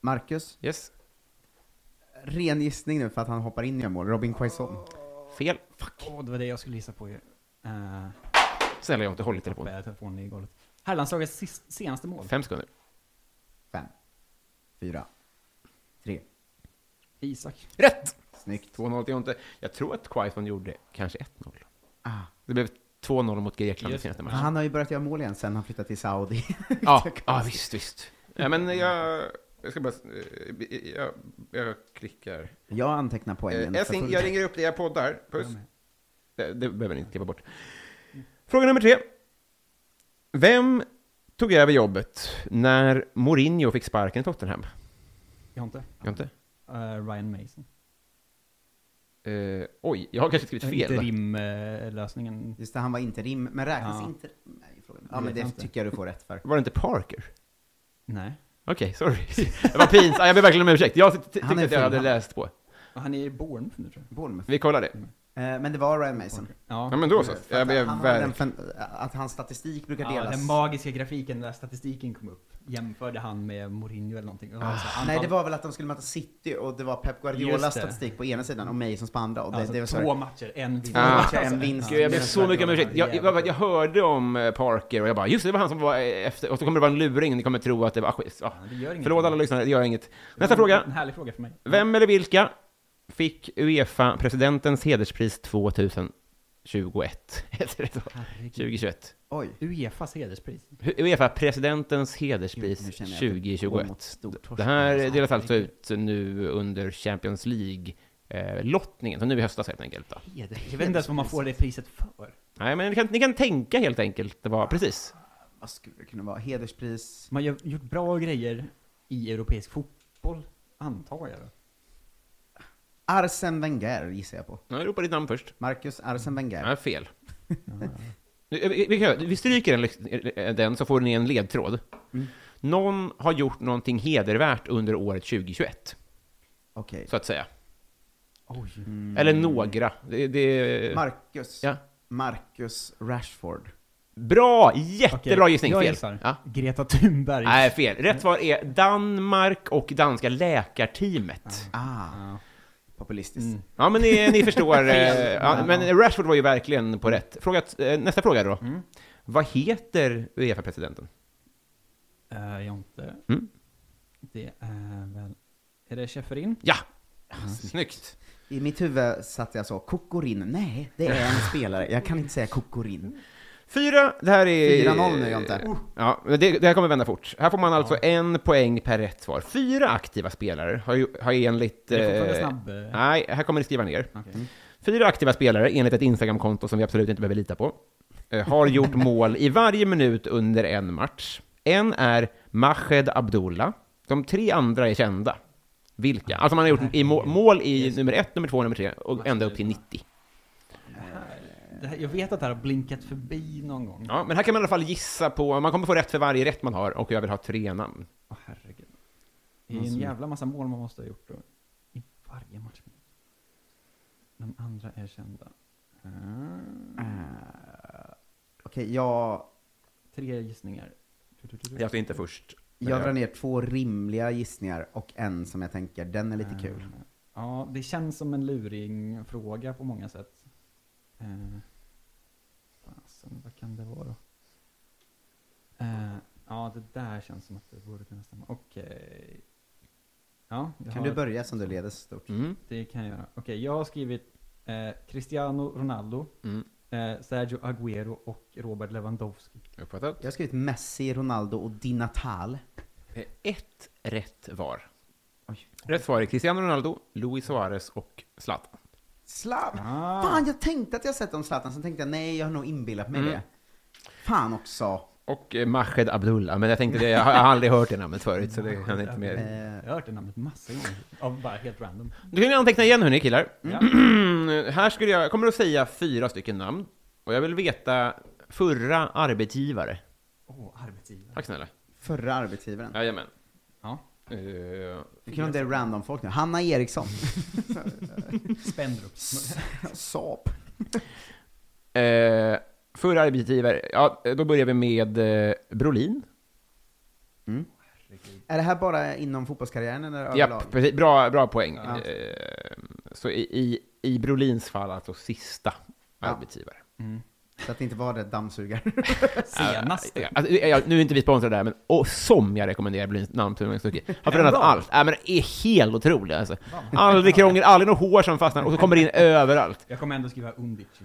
Marcus,
Yes.
ren gissning nu för att han hoppar in i mål. Robin Quaison.
Fel.
Åh, det var det jag skulle gissa på ju. Eh,
Snälla, jag har inte hållit telefonen.
bär telefonen i golvet. Herrlandslagets sist- senaste mål.
Fem sekunder.
Fem, fyra, tre.
Isak.
Rätt!
Snyggt.
2-0 till Jonte. Jag tror att Quaison gjorde kanske 1-0.
Ah.
Det blev 2-0 mot Grekland i
Just
senaste
det. Ah,
matchen.
Han har ju börjat göra mål igen sen han flyttade till Saudi.
Ja, ja visst, visst. Ja, men jag... Jag ska bara... eh, Jag, jag klickar.
Jag antecknar
Eh,
poängen.
jag,
för
sing,
fullt.
jag ringer upp det jag poddar. Puss. Det, det behöver ni inte klippa bort. Fråga nummer tre. Vem tog över jobbet när Mourinho fick sparken i Tottenham?
Jonte.
Jonte?
Eh, Ryan Mason.
Eh, oj, jag har kanske skrivit fel. va?
Interimlösningen.
Just det, han var interim, men räknas
Ja.
inte... Nej, frågan.
Jag
Ja,
vet
men det
inte.
tycker jag du får rätt för.
Var det inte Parker?
Nej.
Okej, sorry. Det var pinsamt. Jag ber verkligen om ursäkt. Jag ty- tyckte
Han är
att jag hade
fin.
läst på.
Och Han är i Bournemouth nu tror jag.
Bournemouth.
Vi kollar det.
Eh, Men det var Ryan Mason. Eh,
Ja, men då så.
För
Jag
att
ber
han har den
verkligen...
fen- eh, att hans statistik brukar
Ja,
delas.
den magiska grafiken där statistiken kom upp. Jämförde han med Mourinho eller någonting. Och alltså, antal-
Nej, det var väl att de skulle möta City och det var Pep Guardiolas
Just det.
statistik på ena sidan och Masons på andra. Och det,
alltså,
det var så
två
här,
matcher, en vinst.
Två
Ah.
matcher, en vinst.
Gud, jag ber så mycket om ursäkt. Jag, jag, jag hörde om eh, Parker och jag bara, just det, det var han som var eh, efter. Och så kommer det vara en luring, ni kommer tro att det var... Ah, skit. Ah,
det gör inget.
förlåt alla lyssnare, det gör inget. Nästa fråga.
En härlig fråga för mig.
Vem eller vilka fick Uefa-presidentens hederspris 2021. Heter det så? 2021.
Oj. Uefas hederspris.
Uefa-presidentens hederspris
Gud, nu känner jag att det går mot
2021.
stortorsk.
Det här
Alltså,
delas alltså ut nu under Champions League-lottningen, som nu i höstas helt enkelt. Då.
Jag vet inte ens vad man får det priset för.
Nej, men ni kan, ni kan tänka helt enkelt vad, precis.
Vad skulle det kunna vara? Hederspris?
Man har gjort bra grejer i europeisk fotboll, antar jag. då.
Arsen Wenger gissar jag på.
Jag ropar ditt namn först.
Marcus Arsen Wenger.
Ja, fel. Nu, eh, Vi, vi, kan göra- vi stryker den, lex- eh, den så får ni en ledtråd.
Mm.
Någon har gjort någonting hedervärt under året 2021,
Okej.
så att säga.
Oj.
Eller några. Det, det...
Marcus.
Ja.
Marcus Rashford.
Bra! Jättebra
Okej,
gissning.
jag
Fel.
gissar.
Ja.
Greta Thunberg.
Nej, fel. Rätt svar är Danmark och danska läkarteamet.
Ah. Populistiskt.
Ja, men ni, ni förstår. eh,
Fel. Mm.
ja, men Rashford var ju verkligen på rätt. Fråga, eh, nästa fråga då. Vad heter Uefa-presidenten?
Eh, Jonte.
Mm.
Det är väl... Är det Schäferin?
Ja! Snyggt!
I mitt huvud satt jag så, Kokorin. Nej, det är en spelare. Jag kan inte säga Kokorin.
Fyra, det här är... Oh.
4-0 nu, Jonte.
Ja, men det, det här kommer vända fort. Här får man alltså en poäng per rätt svar. Fyra aktiva spelare har, ju, har enligt...
Det är fortfarande
eh,
snabb, eh.
Nej, här kommer ni skriva ner.
Okej.
Mm.
Fyra aktiva spelare, enligt ett Instagram-konto som vi absolut inte behöver lita på, eh, har gjort mål i varje minut under en match. En är Mahed Abdullah. De tre andra är kända. Vilka? Alltså man har gjort i må- mål i nummer ett, nummer två, nummer tre och ända upp till 90.
Det här, jag vet att det här har blinkat förbi någon gång.
Ja, men här kan man i alla fall gissa på, man kommer få rätt för varje rätt man har och jag vill ha tre namn.
Åh herregud. Det är ju en jävla massa mål man måste ha gjort då. I varje match. De andra är kända.
Eh, Okej, jag,
Tre gissningar.
Det är alltså inte först.
jag drar ner två rimliga gissningar och en som jag tänker, den är lite
Eh,
kul.
Ja, det känns som en luring fråga på många sätt. Eh, fasen, vad kan det vara? Eh, ja, det där känns som att det borde kunna stämma. Okej. Ja, jag
Kan
har-
du börja som du leder så stort?
Mm.
Det kan jag göra. Okej, jag har skrivit eh, Cristiano Ronaldo,
Mm.
eh, Sergio Aguero och Robert Lewandowski.
Uppfattat.
Jag har skrivit Messi, Ronaldo och Di Natal.
Eh, Ett rätt var.
Oj.
Rätt svar är Cristiano Ronaldo, Luis Suarez och Zlatan.
Zlatan!
Ah.
Fan, jag tänkte att jag sett om Zlatan, sen tänkte jag nej, jag har nog inbillat mig
Mm.
det. Fan också.
Och eh, Mahed Abdullah, men jag tänkte det, jag har aldrig hört det namnet förut, så det kan inte mer.
Eh, Jag har hört det namnet massa gånger. Av bara helt random.
Då kan ni anteckna igen hörni killar. Här skulle jag, kommer att säga fyra stycken namn, och jag vill veta förra arbetsgivare.
Åh, arbetsgivare.
Tack snälla.
Förra arbetsgivaren.
Jajamän.
Ja.
Eh,
Nu kan det är random folk nu. Hanna Eriksson.
Spendrup.
Saab.
Eh, förra arbetsgivare, ja, då börjar vi med eh, Brolin.
Är det här bara inom fotbollskarriären eller eh, överlag?
Japp, precis, bra, bra poäng.
Ja.
Eh, så i, i, i Brolins fall alltså sista
Ja.
arbetsgivare.
Så att det inte var det dammsugare.
Senast.
Ja, alltså, ja, nu är inte vi sponsrade där, men och som jag rekommenderar Brolins namnturningsstucke. Har förändrat
bra.
allt. Äh, men det är helt otroligt alltså. Aldrig krångel, aldrig något hår som fastnar och så kommer det in överallt.
Jag kommer ändå skriva Undici.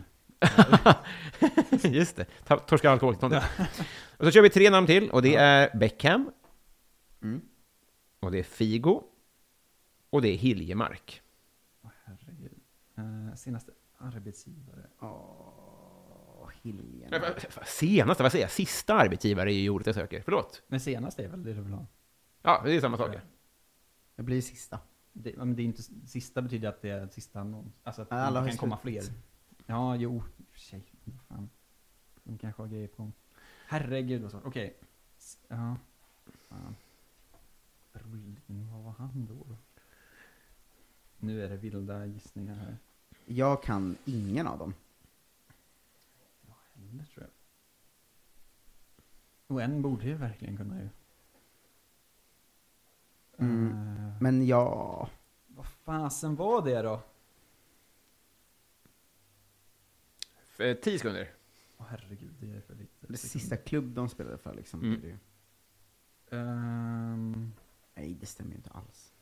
Just det, Ta- torska alkoholtillståndet. Och så kör vi tre namn till, och det är Beckham,
Mm.
och det är Figo, och det är Hiljemark.
Åh, herregud. Eh, senaste arbetsgivare.
Åh, Hiljen.
Men, vad- vad- Senaste, vad säger jag? Sista arbetsgivare är ju ordet jag söker. Förlåt.
Men senaste är väl det du vill ha?
Ja, det är samma sak.
Jag blir sista.
Det, ja, men det är inte, sista betyder att det är sista annons. Alltså att
Ja, alla
det
har
kan
slut.
komma fler. Ja, jo. i och för sig. Fan. De kanske har grejer på gång. Herregud vad svårt. Okej. S- Ja. Fan. Brolin, vad var han då? Nu är det vilda gissningar här.
Jag kan ingen av dem.
Det tror jag. Och en borde ju verkligen kunna ju. Eh,
Mm. Men jag...
vad fasen var det då?
Eh, Tio sekunder.
Åh herregud, det är för lite.
Det sista klubb de spelade för liksom.
Mm.
Det är ju-
Ehm,
Nej, det stämmer ju inte alls.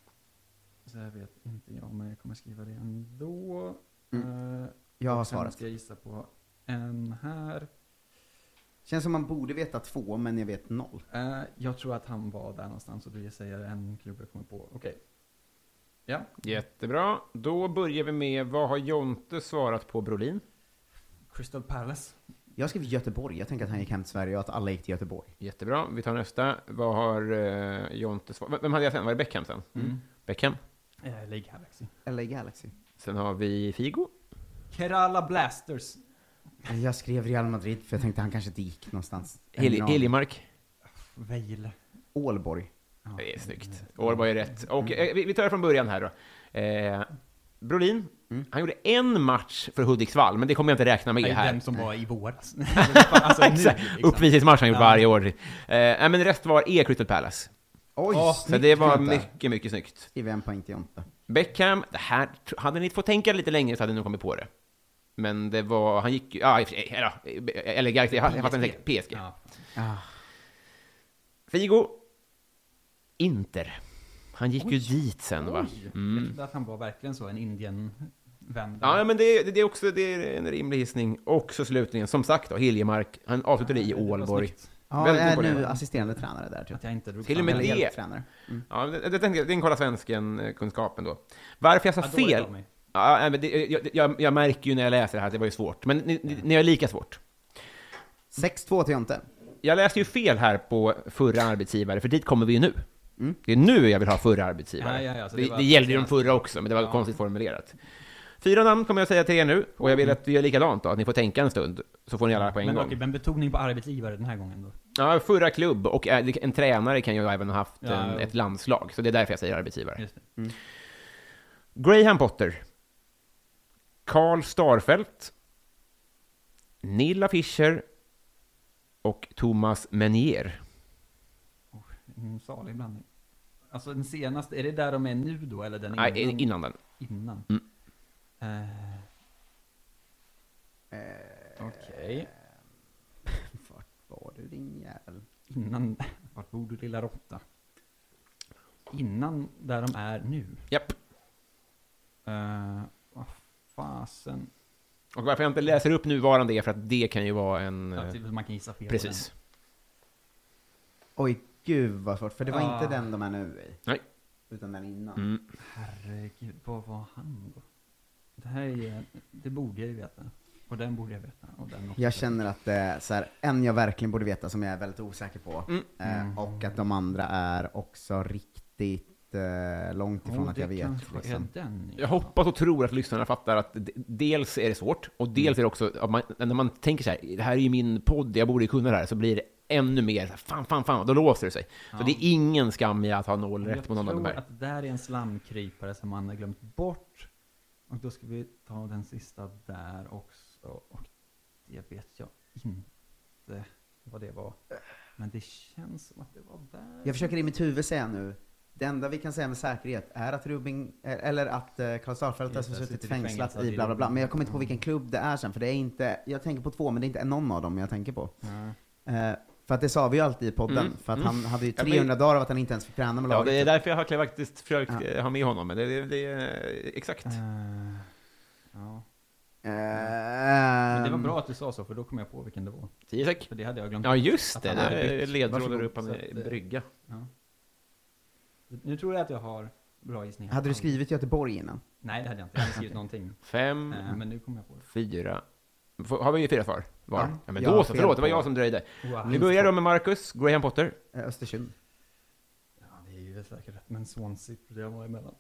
Så här vet inte jag, men jag kommer skriva det ändå.
Mm.
Eh,
Jag har
och
svaret.
Sen ska jag gissa på en här.
Känns som man borde veta två, men jag vet noll.
Eh, jag tror att han var där någonstans och du säger en klubb jag kommer på. Okej. Ja.
Jättebra. Då börjar vi med, vad har Jonte svarat på Brolin?
Crystal Palace.
Jag skrev Göteborg. Jag tänker att han gick hem till Sverige och att alla gick till Göteborg.
Jättebra. Vi tar nästa. Vad har eh, Jonte svarat? Vem- Vem hade jag sen? Var det Beckham sen?
Mm.
Beckham.
Eh, Lake Galaxy.
LA Galaxy.
Sen har vi Figo.
Kerala Blasters.
Jag skrev Real Madrid för jag tänkte han kanske inte gick någonstans.
Heli-
Ingen aning.
Hiljemark.
Vejle.
Ålborg.
Det är snyggt. Årborg är rätt. Och
Mm.
eh, vi, vi tar det från början här då. Eh, Brolin, han gjorde en match för Hudiksvall, men det kommer jag inte räkna med
Mm. Nej,
här.
den som var i våras. alltså, nu,
Exakt. Uppvisningsmatch han gjort varje år. Eh, nej, men rest var E. Crystal Palace.
Oj,
Ja, så
snyggt
det var
Jonte.
mycket, mycket snyggt.
Skriver en poäng till Jonte.
Beckham, det här, hade ni fått tänka lite längre så hade ni nog kommit på det. Men det var, han gick ju, ja, i och för sig, eller, eller Galaxy, jag fattar inte riktigt. PSG.
Ja.
Ah. Figo, Inter. Han gick ju dit sen va? Mm.
Jag trodde att han var verkligen så, en Indien-vän.
Ja, men det, det, det är också det är en rimlig gissning. Och så slutligen, som sagt då, Hiljemark, han avslutade i Ålborg.
Ja, jag
Väldigt
är nu
imponerande.
assisterande tränare där typ.
Att jag inte drog
Till och med
fram-
Eller
det.
hjälptränare.
Mm.
Ja, det, det, tänkte jag, det är en kolla svensken-kunskapen då. Varför jag sa
Ja, dåligt
fel...
av mig.
Ja, nej, men det, jag, jag, jag märker ju när jag läser det här att det var ju svårt, men ni, ni, ni har lika svårt.
6-2 till Jonte.
Jag läste ju fel här på förra arbetsgivare, för dit kommer vi ju nu. Det är nu jag vill ha förra arbetsgivare.
Mm. Ja, ja, ja, så
det,
det
det,
var-
gällde ju de förra också, men det var konstigt formulerat. Fyra namn kommer jag säga till er nu, och jag vill att vi gör likadant då, att ni får tänka en stund, så får ni alla på en
Mm. Men
gång.
okej, men betoning på arbetsgivare den här gången då.
Ja, förra klubb, och eh, det- en tränare kan ju även ha haft
Ja,
en,
jo.
ett landslag, så det är därför jag säger arbetsgivare. Mm.
Just det.
Graham Potter. Karl Starfelt. Nilla Fischer. Och Thomas Menier.
En salig blandning. Alltså den senaste, är det där de är nu då, eller den innan?
Nej, in- innan den.
Innan?
Mm.
Eh, Okej.
Vart var du din jävel?
Innan, vart bor du lilla råtta? Innan där de är nu.
Japp.
Eh, vad fasen.
Och varför jag inte läser upp nuvarande är för att det kan ju vara en... eh,
Ja, typ, man kan gissa fel. på
Precis.
Oj, gud vad svårt. För det var
Ah.
inte den de är nu i.
Nej.
Utan den innan.
Mm.
den. Herregud, vad var han då? Det här är ju- det borde jag ju veta. Och den borde jag veta. Och den också.
Jag känner att det är så här, en jag verkligen borde veta som jag är väldigt osäker på.
Mm.
Eh, och att de andra är också riktigt eh, långt ifrån
Och
att
det
jag vet.
kanske
Liksom.
är den.
Jag hoppas och tror att lyssnarna fattar att d- dels är det svårt, och dels är det också att man, när man tänker så här, det här är ju min podd, jag borde ju kunna det här, så blir det ännu mer så här, fan, fan, fan, då låser det sig. Så
Ja.
det är ingen skam i att ha noll
Jag
rätt på någon av de
tror
här.
att det där är en slamkrypare som man har glömt bort. Och då ska vi ta den sista där också. Och det vet jag inte vad det var. Men det känns som att det var där.
Jag försöker i mitt huvud säga nu, det enda vi kan säga med säkerhet är att Rubin, eller att eh, Karl Starfelt har
Just det,
suttit
suttit
fängslat
fängslad
i
i
bla bla bla.
Rubin.
Men jag kommer inte på vilken klubb det är sen, för det är inte, jag tänker på två men det är inte någon av dem jag tänker på. Eh, för att det sa vi ju alltid i podden,
Mm,
för att
mm.
han hade ju
Ja, men-
300 dagar av att han inte ens fick träna med
Ja,
laget. typ.
det är därför jag har faktiskt försökt
Ja.
eh, ha med honom, men det, det, det är exakt.
Eh, ja.
Eh,
Men det var
Ehm,
bra att du sa så, för då kom jag på vilken det var.
Ehm. Tio sek.
För det hade jag glömt.
Ja, just
Att
det.
han
Där
hade
är
bytt.
ledtrådar
Varsågod.
upp
Så att,
med
eh,
brygga.
Nu tror jag att jag har bra gissningar.
Hade du skrivit Göteborg innan?
Nej, det hade jag inte. Jag hade skrivit någonting.
Fem,
Eh, men nu kommer jag på det.
fyra... Får- Har vi ju fyra svar var?
Ja.
Ja, men
Jag
då
har
så,
fel
förlåt, det var
på-
jag som dröjde.
Wow.
Vi börjar då med Marcus, Graham Potter.
Eh, Östersund.
Ja, det är ju säkert rätt, men Swansea, det var emellan.
Ka-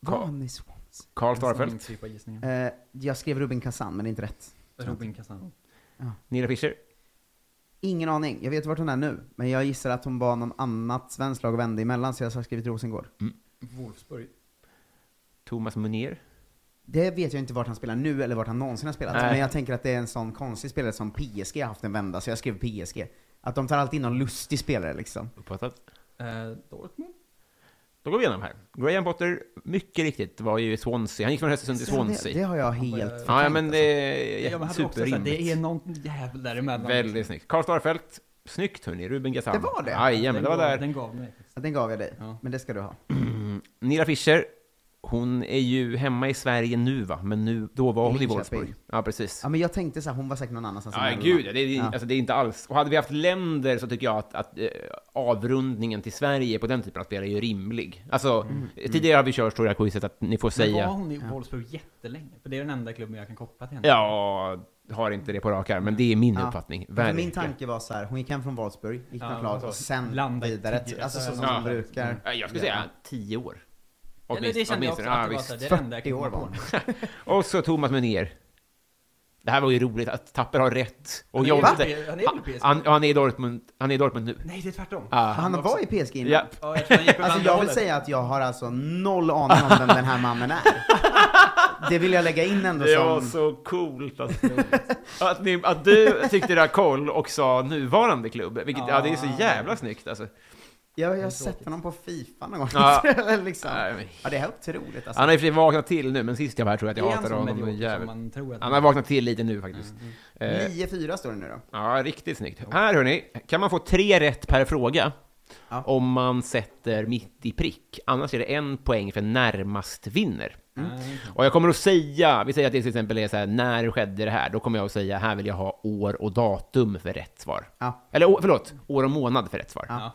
Var han i Swans?
Karl
En
Starfelt,
slamkrypa gissningen.
Eh, jag skrev Rubin Kazan, men det är inte rätt.
Robin Cassano.
Nilla Fischer,
Ingen aning. Jag vet vart hon är nu, men jag gissar att hon var någon annat svenskt lag och vände emellan, så jag har skrivit Rosengård.
Mm.
Wolfsburg.
Thomas Munier.
Det vet jag inte vart han spelar nu eller vart han någonsin har spelat.
Nej.
Men jag tänker att det är en sån konstig spelare som PSG har haft en vända, så jag skrev PSG. Att de tar alltid in någon lustig spelare liksom.
Uppfattat.
Eh, Dortmund?
Då går vi igenom här. Graham Potter, mycket riktigt, var ju i Swansea. Han gick från Östersund till
Det, det
Swansea.
har jag
Han var-
helt
Ja, ja,
förträngt,
men det är
Ja, men hade också såhär, det är
superrimligt.
någon jävel liksom. däremellan.
Väldigt snyggt. Karl Starfelt, snyggt hörni. Ruben Gazan.
Det var det?
Jajamän,
Den
det var
gav-
där.
Den gav mig.
alltså. Den gav jag dig,
Ja.
men det ska du ha.
Mm. Nilla Fischer, hon är ju hemma i Sverige nu va, men nu, då var hon i
Linköping.
Wolfsburg. Ja, precis.
Ja, men jag tänkte så här, hon var säkert någon annanstans.
Ja,
emellan.
gud, det är, Alltså, det är inte alls... Och hade vi haft länder så tycker jag att, att eh, avrundningen till Sverige på den typen av spel är ju rimlig. Alltså, tidigare har vi kört stora quizet att ni får
Men var
säga...
hon i Wolfsburg jättelänge? För det är den enda klubben jag kan koppla till henne.
Ja, har inte det på rak arm, men det är min
Ja.
uppfattning.
Alltså,
För
Verkligen.
min tanke var så här, hon gick hem från Wolfsburg, gick
Ja,
ja, klart och
alltså,
sen
landa i
vidare.
tio,
Alltså så
så
som
här,
man
ja.
brukar.
Ja, Jag skulle säga tio år.
Eller det kände jag också att det var så här, det är det enda jag
40
kan
år
komma
var
på.
hon.
Och så Thomas Meunier. Det här var ju roligt att Tapper har rätt. Och
Han är
Jonte-
väl- han är väl PSG?
han, han är i Dortmund, han är i Dortmund nu.
Nej, det är tvärtom.
Ah.
Han var i PSG innan.
Ja.
Ja, jag tror han gick åt
Alltså
andra
jag vill
hållet.
säga att jag har alltså noll aning om vem den här mannen är. Det vill jag lägga in ändå
Det var
som...
så coolt att, att, ni, att du tyckte det var koll och sa nuvarande klubb. Vilket, ja, det är så jävla snyggt alltså.
Jag, jag har sett honom på Fifa någon gång.
Ja.
Eller liksom.
Nej, men-
ja, det är otroligt alltså.
Han har ju för sig vaknat till nu, men sist jag var här tror jag att jag
Är han
hatade
så
honom.
medioker som
jävligt.
man tror att Mm,
Han har vaknat till lite nu faktiskt. Eh,
9-4 står det nu då.
Ja, riktigt snyggt. Här hörni, kan man få tre rätt per fråga
Ja.
om man sätter mitt i prick. Annars är det en poäng för närmast vinner.
Mm.
Mm. Och jag kommer att säga, vi säger att det till exempel är så här, när skedde det här? Då kommer jag att säga, här vill jag ha år och datum för rätt svar.
Ja.
Eller å- förlåt, år och månad för rätt svar.
Ja.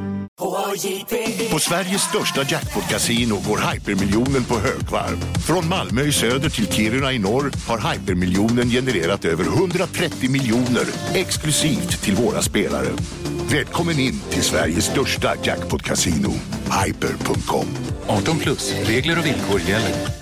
På Sveriges största jackpot-kasino går hypermiljonen på högvarv. Från Malmö i söder till Kiruna i norr har hypermiljonen genererat över 130 miljoner exklusivt till våra spelare. Välkommen in till Sveriges största jackpot-kasino, hyper.com.
18 plus. Regler och villkor gäller.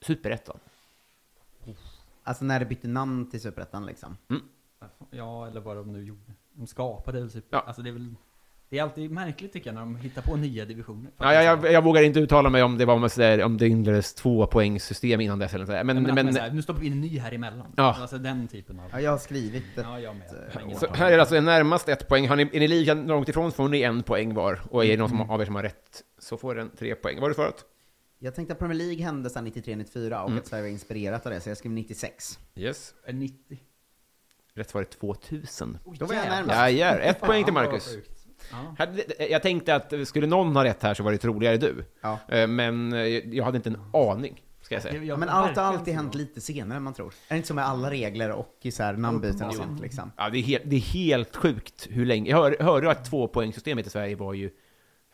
Superettan?
Alltså när det bytte namn till Superettan liksom.
Ja, eller vad de nu gjorde. De skapade väl typ...
Ja.
Alltså det är väl... Det är alltid märkligt tycker jag när de hittar på nya divisioner.
Ja, jag, jag, jag vågar inte uttala mig om det var om, så där, om det inleddes två poängssystem innan dess eller så där. Men,
men,
men,
men, så här, nu stoppar vi in en ny här emellan.
Ja.
Alltså den typen av...
Ja, jag har skrivit ett...
Ja, jag med.
eh,
Men-
år.
så här är det alltså närmast ett poäng. Har ni, är ni lika långt ifrån får ni en poäng var. Och är det någon som, av er som har rätt så får den tre poäng. Vad har du svarat?
Jag tänkte att Premier League hände sedan 93-94
Mm.
och att Sverige var inspirerat av det, så jag skrev 96.
Yes.
90.
Rätt svar är 2000.
Då var jag
jävlar.
närmast.
Ja, ja. Ett
Fan,
poäng till
vad
Marcus.
sjukt. Ja.
Hade- Jag tänkte att skulle någon ha rätt här så var det troligare du.
Ja.
Eh, Men eh, jag hade inte en aning, ska jag säga.
Ja, men allt har alltid hänt lite senare än man tror. Är det inte så med alla regler och i så här namnbyten och sånt liksom?
Ja, det är helt, det är helt sjukt hur länge. Jag hör, hörde att tvåpoängssystemet i Sverige var ju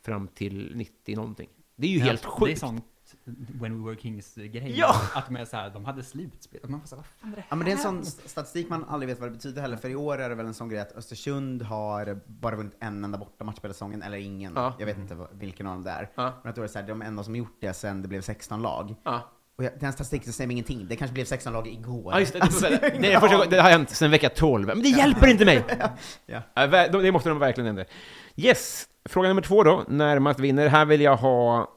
fram till 90 någonting. Det är ju helt
Ja,
sjukt.
Det är sånt When We Were Kings-grej.
Ja!
Att de, är så här, de hade slutspel. Man var så här, vad fan är det
Ja men det är en sån st- statistik man aldrig vet vad det betyder heller, för i år är det väl en sån grej att Östersund har bara vunnit en enda bortamatch på hela säsongen, eller ingen.
Ja.
Jag vet inte vad- vilken av dem det är.
Ja.
Men att då är det så här, de enda som gjort det sen det blev 16 lag.
Ja.
Och jag, den statistiken stämmer ingenting, det kanske blev 16 lag igår.
Ja, just det.
Alltså,
det,
jag har
det,
ingen
är första gången,
aning.
det har hänt sedan vecka 12. Men det hjälper inte mig!
Ja.
Ja, ver- Äh, de- Det måste de verkligen ändra. Yes, fråga nummer två då. Närmast vinner. Här vill jag ha...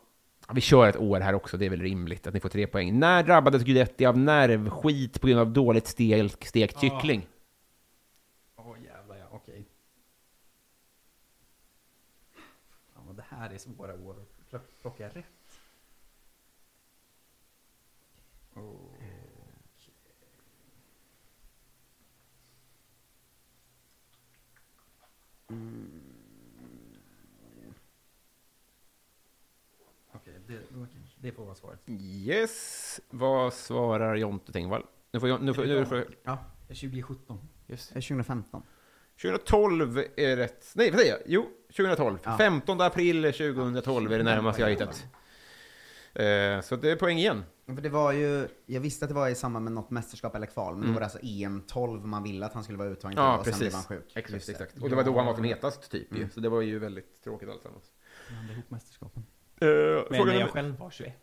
ja, Vi kör ett år här också, det är väl rimligt att ni får tre poäng. När drabbades Guidetti av nervskit på grund av dåligt stek, stekt
Ja.
kyckling?
Åh jävlar ja, okej. Fan vad det här är svåra år att plock- plocka rätt. Okej.
Mm.
Okej, det, okej, det får vara svaret.
Yes, vad svarar Jonte Tengvall? Nu får, Jon- nu får, nu får,
Ja,
2017.
yes.
2015.
2012 är rätt. Nej, vad säger jag? Jo, 2012. 15 april 2012 är det närmaste jag har hittat. Eh, Så det är poäng igen.
För det var ju, jag visste att det var i samband med något mästerskap eller kval, men
Mm.
då var det alltså EM 12 man ville att han skulle vara uttagen till
Ja,
och sen blev
precis.
han sjuk.
Exakt,
Just det.
exakt. Och det var då han var som hetast, typ. ju.
Mm.
Så det var ju väldigt tråkigt alltsammans.
Blanda ihop mästerskapen.
Eh,
Men
fråga
när
nummer-
jag själv var 21.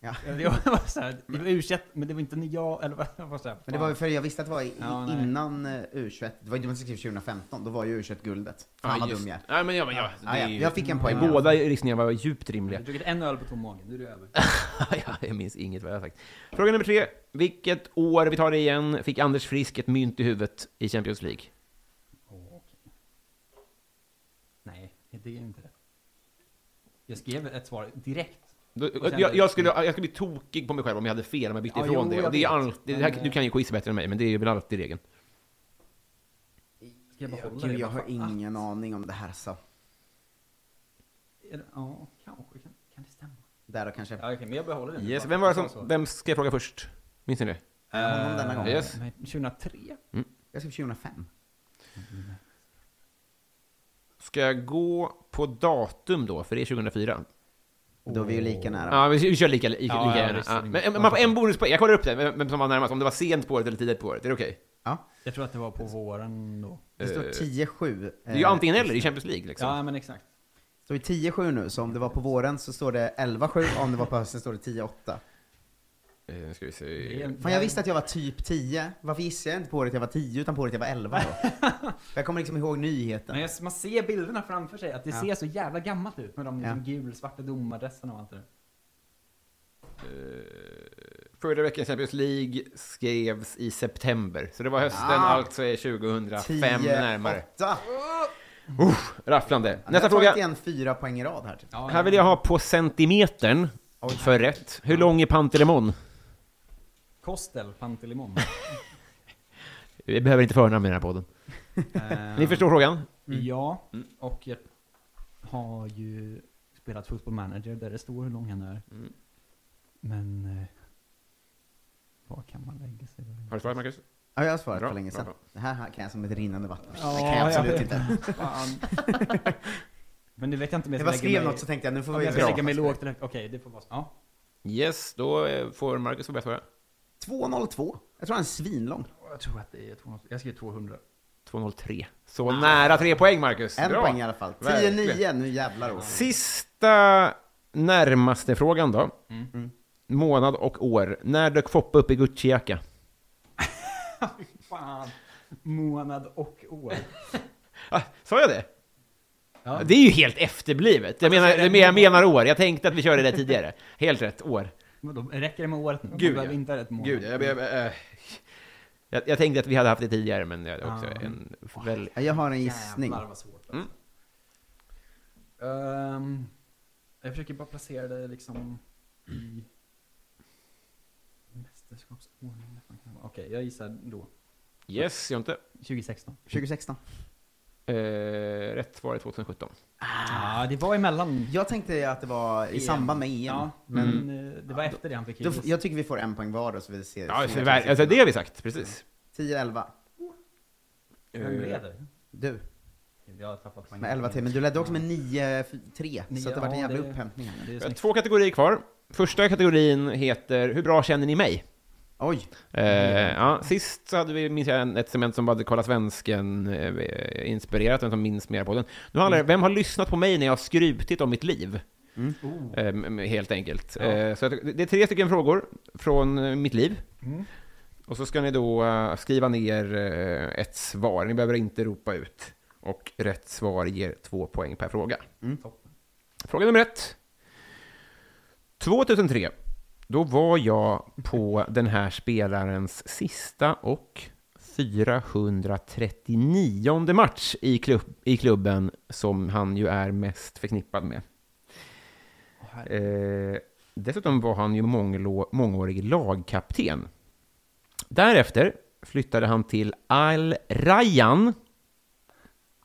Ja.
Jag var så här, det var u men det var inte när jag, eller vad jag var så här,
Men det var ju för jag visste att det var i,
Ja, nej.
innan eh, U21, det var ju det man skrev 2015, då var ju U21 guldet. Fan vad
just.
dum jag är.
Nej, men jag, men jag,
Ja,
det
ja.
är ju- Mm.
Jag
Mm.
fick en poäng.
Båda gissningarna var djupt rimliga.
Jag druckit en öl på tom mage, nu är det över.
Ja, jag minns inget vad jag har sagt. Fråga nummer tre. Vilket år, vi tar det igen, fick Anders Frisk ett mynt i huvudet i Champions League?
Nej, det är ju inte det. Jag skrev ett svar direkt.
Då-
Och sen-
Jag, jag, skulle, jag skulle bli tokig på mig själv om jag hade fel, om jag bytte
Ja,
ifrån
jo,
det.
jag
Och det är
vet.
alltid, det här,
Men,
du kan ju quiz bättre än mig, men det är väl alltid regeln.
Ska jag
Ja,
behålla
Gud,
det?
jag
Vad
har ingen aning om det här så.
Är det, ja, kanske. Kan, kan det stämma?
Där och kanske.
Ja, okej, men jag behåller det nu.
Yes. Vem, var det som, vem ska jag fråga först? Minns ni det?
Ja, honom
Eh,
denna gången.
Yes.
Men 2003?
Jag skrev 2005.
Ska jag gå på datum då? För det är 2004.
Då är vi ju lika nära.
Ja, vi, vi kör lika, lika,
Ja,
lika
ja,
gärna.
visst.
Ja. Men men man får en bonuspoäng. Jag kollar upp det, vem vem som var närmast. Om det var sent på året eller tidigt på året. Är det okej?
Jag tror att det var på våren då.
Det står
Eh,
10-7.
Det är ju antingen eller i Champions League liksom.
Ja, men exakt.
Det står ju 10-7 nu, så om det var på våren så står det 11-7, om det var på hösten står det 10-8.
Eh, nu ska vi se.
Fan jag visste att jag var typ 10, varför gissade jag inte på året jag var 10 utan på året jag var 11 då? För jag kommer liksom ihåg nyheten.
Men jag, man ser bilderna framför sig, att det
Ja.
ser så jävla gammalt ut med de liksom
Ja.
gul-svarta domardressarna och allt det där.
Förra veckans Champions League skrevs i september. Så det var hösten,
Ah.
alltså är 2005
10-8.
närmare.
Ja,
Uff, rafflande.
jag
Nästa
har
fråga.
tagit igen fyra poäng i rad här. Typ.
Här vill jag ha på centimetern för rätt. Hur lång är Pantelimon?
Kostel, Pantelimon.
Vi behöver inte förnamn i den här podden.
Eh.
Ni förstår frågan?
Mm.
Ja, och jag har ju spelat Football Manager där det står hur lång han är. Men... Eh, vad kan man lägga sig då?
Har du svarat Marcus?
Ja, jag har svarat
Bra,
för länge
bra,
sedan.
bra.
Det här här kan jag som ett rinnande vatten. det kan jag absolut inte.
Men nu vet jag inte om jag
Det
ska
var
lägga
skrev
mig-
något så tänkte jag, nu får
om
vi-
jag ska
Bra.
lägga mig lågt direkt. Okej, det får vara så. Ja.
Yes, då eh, får Marcus börja svara.
202. Jag tror han är svinlång.
Jag tror att det är 200. Jag skrev 200.
203. Så
Ah.
nära tre poäng Marcus.
En
Bra.
poäng i alla fall.
Verkligen.
10-9, nu jävlar. Olof.
Sista närmaste frågan då.
Mm.
Månad och år. När dök Foppa upp i Gucci-jacka?
Fan. Månad och år.
Ah, sa jag det?
Ja.
Det är ju helt efterblivet. Jag menar, jag menar- jag menar år. Jag tänkte att vi körde det tidigare. Helt rätt, år.
Vadå, räcker det med året nu? Man
Gud,
behöver
ja.
inte ha ett månad.
Gud, jag, jag, jag, jag, jag tänkte att vi hade haft det tidigare, men det är också
Ja.
en väl...
Jag har en gissning.
Jävlar vad svårt.
Mm.
Ehm, jag försöker bara placera det liksom i mästerskapsordning. vad fan kan det vara? Okej, jag gissar då.
Yes, jag inte.
2016.
2016.
Eh, rätt svar är 2017.
Ja, Ah, det var emellan.
Jag tänkte att det var i
EM.
samband med EM.
Ja,
men mm.
men eh, det var efter det han fick
då,
hybris.
jag tycker vi får en poäng var då så vi ser.
Ja, så, väl- alltså, det har vi sagt, precis.
Mm. 10-11.
Eh.
Vem leder?
Du,
Jag har tappat poäng.
med 11 till. Men du ledde också med 9-3, så
Nio,
att det var en
ja,
jävla
det-
upphämtning. här.
det är
Vi har
snyggt.
Två kategorier kvar. Första kategorin heter Hur bra känner ni mig?
Oj!
Eh, ja, sist så hade vi, minns jag, en- ett segment som hade Kolla Svensken eh, inspirerat, vem som minns mer på den. Nu handlar det vem har lyssnat på mig när jag har skrutit om mitt liv?
Mm.
Eh, m- m- helt enkelt. Eh, så jag, det är tre stycken frågor från eh, mitt liv.
Mm.
Och så ska ni då eh, skriva ner eh, ett svar. Ni behöver inte ropa ut. Och rätt svar ger två poäng per fråga. Fråga nummer ett. 2003, då var jag på den här spelarens sista och 439 match i, klubb, i klubben som han ju är mest förknippad med. Eh, dessutom var han ju månglå- mångårig lagkapten. Därefter flyttade han till Al Rayyan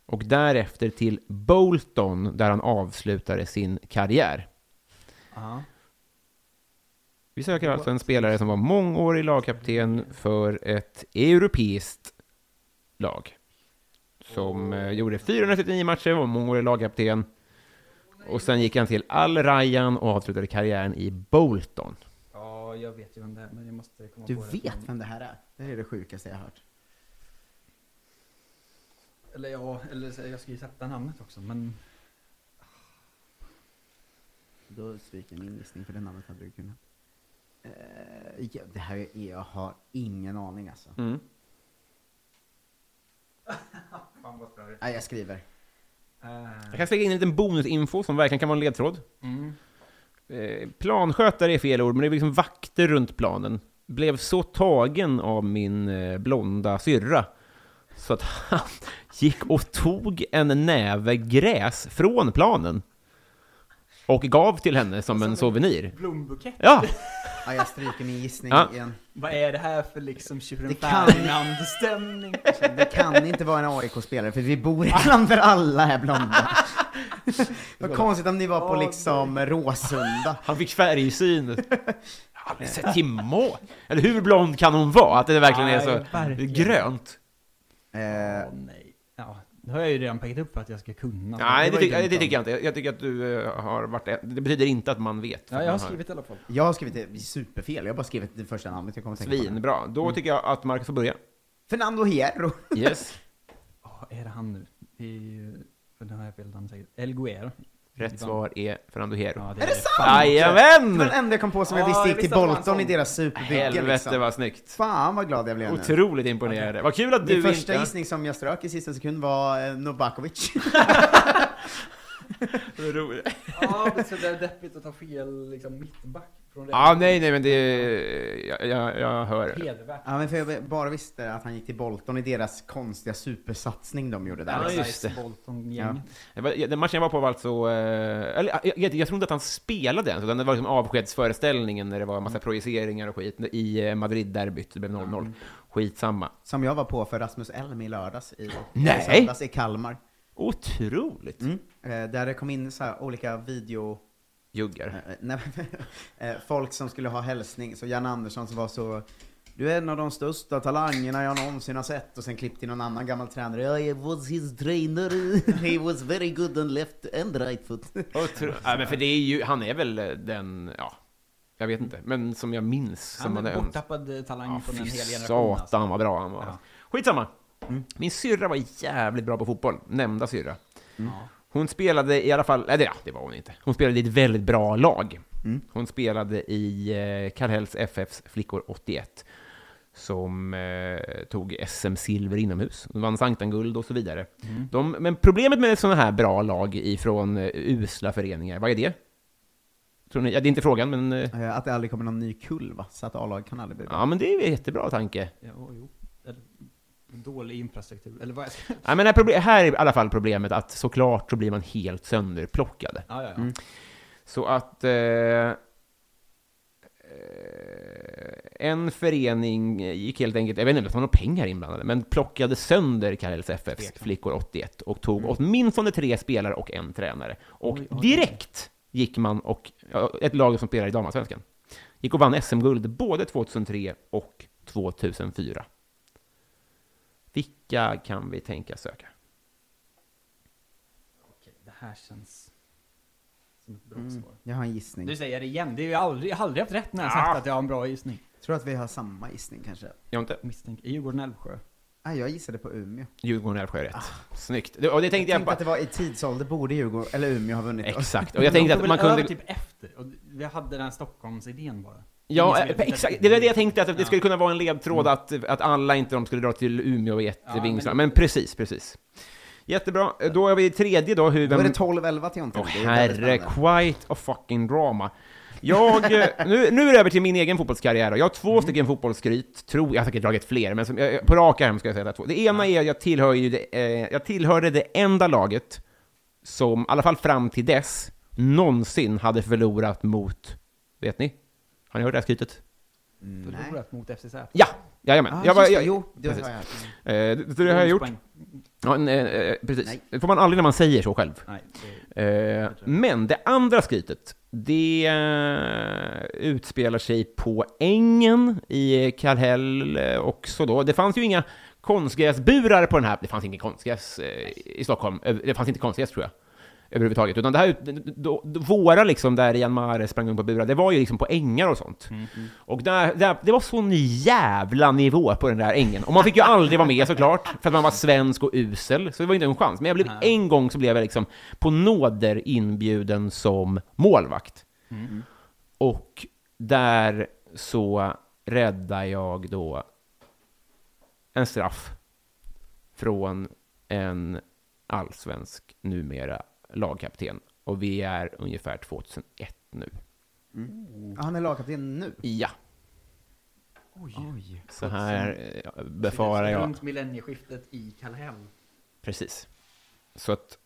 och därefter till Bolton där han avslutade sin karriär.
Ja.
Vi söker alltså en spelare som var mångårig lagkapten för ett europeiskt lag. Som eh, gjorde 439 matcher, var mångårig lagkapten. Och sen gick han till Al Ryan och avslutade karriären i Bolton.
Ja, jag vet ju vem det är, men jag måste komma
Du
på
vet vem det här är? Det är det sjukaste jag har hört.
Eller ja, eller så- jag ska ju sätta namnet också, men...
Då sviker min gissning, för det namnet hade du kunnat. Eh, ja, det här är, jag har ingen aning alltså.
Mm.
Fan vad större.
Nej, jag skriver.
Jag kan slänga in en liten bonusinfo som verkligen kan vara en ledtråd.
Mm.
Eh, Planskötare är fel ord, men det är liksom vakter runt planen. Blev så tagen av min eh, blonda syrra så att han gick och tog en näve gräs från planen och gav till henne som en souvenir.
Blombukett?
Ja!
Ja, jag stryker min gissning
Ja.
igen.
Vad är det här för liksom Tjuren
kan-
Ferdinand-stämning?
Det kan inte vara en AIK-spelare, för vi bor i ett land där alla är blonda. Vad konstigt om ni var på liksom Råsunda.
Han fick färgsyn. Jag har aldrig sett Timå! Eller hur blond kan hon vara? Att det verkligen är så
Nej, verkligen.
grönt.
Eh,
Åh, nej. Ja, nu har jag ju redan pekat upp för att jag ska kunna.
Nej, det,
var ju
tycker-
dumt
det
av
tycker jag
mig.
inte. Jag tycker att du eh, har varit... Det betyder inte att man vet.
Ja, jag har skrivit i alla fall.
Jag har skrivit det superfel, jag har bara skrivit det första namnet jag kommer att tänka på. nu.
Svinbra. Då
Mm.
tycker jag att Marcus får börja.
Fernando Hierro.
Yes.
Vad är det han nu? Det är ju... För den har jag fel namn säkert. El Guer.
Rätt svar är Fernando Hierro.
Ja,
Är det sant?
Jajamän!
Det var den enda jag kom på som jag
Ja,
visste
jag
gick till
visste att det var en
Bolton i
sån.
deras superbygge
Helvete
liksom.
vad snyggt.
Fan vad glad jag blev nu.
Otroligt imponerande. Vad kul att
Min
du
första
inte...
gissning som jag strök i sista sekund var eh, Novakovic.
Vad roligt.
Ja, men så det är deppigt att ta fel liksom mittback. Från det.
Ja, nej, nej, men det... Jag, jag, jag hör.
Hedervärt.
ja men för jag bara visste att han gick till Bolton i deras konstiga supersatsning de gjorde där.
Ja,
liksom.
just det.
Bolton-gänget.
Det var- Den matchen jag var på var alltså... eh, Eller, jag, jag, jag tror inte att han spelade ens, utan det var liksom avskedsföreställningen när det var en massa projiceringar och skit i eh, Madrid-derbyt. Det blev 0-0. Skitsamma.
Som jag var på för Rasmus Elm i lördags i,
Nej!
i, söndags i Kalmar.
Otroligt.
Mm. Eh, där det kom in så här olika video...
Juggar.
Eh, nej, eh, folk som skulle ha hälsning, så Jan Andersson som var så du är en av de största talangerna jag någonsin har sett och sen klippte in någon annan gammal tränare. I was his trainer, he was very good on left and right foot.
Otro... Ja, men för det är ju, han är väl eh, den, ja, jag vet inte, men som jag minns som
Han
man
är
önskat.
borttappad talang
Ja,
från en
fy
hel generation. alltså.
satan vad bra han var.
Ja. Mm.
Skitsamma! Min syrra var jävligt bra på fotboll, nämnda syrra.
Mm.
Hon spelade i alla fall, eller ja, det var hon inte. Hon spelade i ett väldigt bra lag.
Mm.
Hon spelade i eh, Kallhälls FFs flickor 81, som eh, tog SM-silver inomhus. Hon vann Sanktan-guld och så vidare.
Mm.
De, men problemet med sådana här bra lag ifrån eh, usla föreningar, vad är det? Tror ni? Ja, det är inte frågan, men... eh,
Eh, Att det aldrig kommer någon ny kull va? Så att A-lag kan aldrig bli bra.
Ja, men det är en jättebra tanke.
Ja, och jo. Eller, dålig infrastruktur. Eller vad är det?
Nej, men här, proble- här är i alla fall problemet att såklart så blir man helt sönderplockade.
Ja, ja, ja.
Så att eh, eh, Eh, en förening gick helt enkelt, jag vet inte om det var några pengar inblandade, men plockade sönder Kallhälls FFs flickor 81 och tog åtminstone tre spelare och en tränare. Och
Oj, oj.
direkt gick man och, ja, ett lag som spelar i damallsvenskan, gick och vann SM-guld både 2003 och 2004. Vilka kan vi tänka söka?
Okej, det här känns som ett bra
Mm.
svar.
Jag har en gissning.
Du säger det igen, det är ju aldrig, jag har aldrig haft rätt när jag har sagt
Ah.
att jag har en bra gissning.
Tror att vi har samma gissning kanske?
Jag har inte.
Misstänker. Djurgården-Älvsjö.
Nej, jag gissade på Umeå.
Djurgården och Älvsjö är rätt. Snyggt. Det, och det tänkte
Jag
jag,
tänkte
på.
att det var i tidsålder borde Djurgården, eller Umeå, ha vunnit.
Exakt. Och jag tänkte att man kunde...
över typ efter, och vi hade den här Stockholms-idén bara. Ingen
Ja, eh,
som ville titta
exakt.
på
Det var det jag tänkte, att det
Ja.
skulle kunna vara en ledtråd
Mm.
att, att alla inte de skulle dra till Umeå och
Ja,
jätteving.
men
men...
lite.
precis, precis. Jättebra. Då är vi i tredje då, hur...
Då är det
Vem...
12-11 till Jonte.
Åh
Det är väldigt
herre,
spännande.
quite a fucking drama. Jag, eh, nu, nu är det över till min egen fotbollskarriär. då. Jag har två
Mm.
stycken fotbollsskryt, tror jag. Jag har säkert dragit fler, men som, jag, på rak arm ska jag säga att jag har två. Det ena är att jag, tillhör ju det, eh, jag tillhörde det enda laget som, i alla fall fram till dess, någonsin hade förlorat mot, vet ni? Har ni hört det här skrytet?
Förlorat mot FCZ.
Ja! Jajamän.
Ah,
jag var,
just det,
jag,
jo, det
precis.
har jag. hört.
Eh, det, det har jag gjort.
Bonuspoäng.
Ja, en, eh, eh, precis.
Nej.
Det får man aldrig när man säger så själv.
Nej, det-
Eh, men det andra skrytet, det eh, utspelar sig på ängen i Kallhäll eh, också då. Det fanns ju inga konstgräsburar på den här. Det fanns ingen konstgräs eh, i Stockholm. Eh, Det fanns inte konstgräs tror jag. överhuvudtaget. Utan det här, då, då, våra liksom där Ian Mare sprang runt på burar, det var ju liksom på ängar och sånt.
Mm,
Och där, där, det var sån jävla nivå på den där ängen. Och man fick ju aldrig vara med såklart, för att man var svensk och usel, så det var inte en chans. Men jag blev, en gång så blev jag liksom på nåder inbjuden som målvakt.
Mm.
Och där så räddar jag då en straff från en allsvensk, numera lagkapten. Och vi är ungefär 2001 nu.
Han är lagkapten nu?
Ja.
Oj.
Så här eh, befarar jag.
Runt millennieskiftet i Kallhem.
Precis. Så att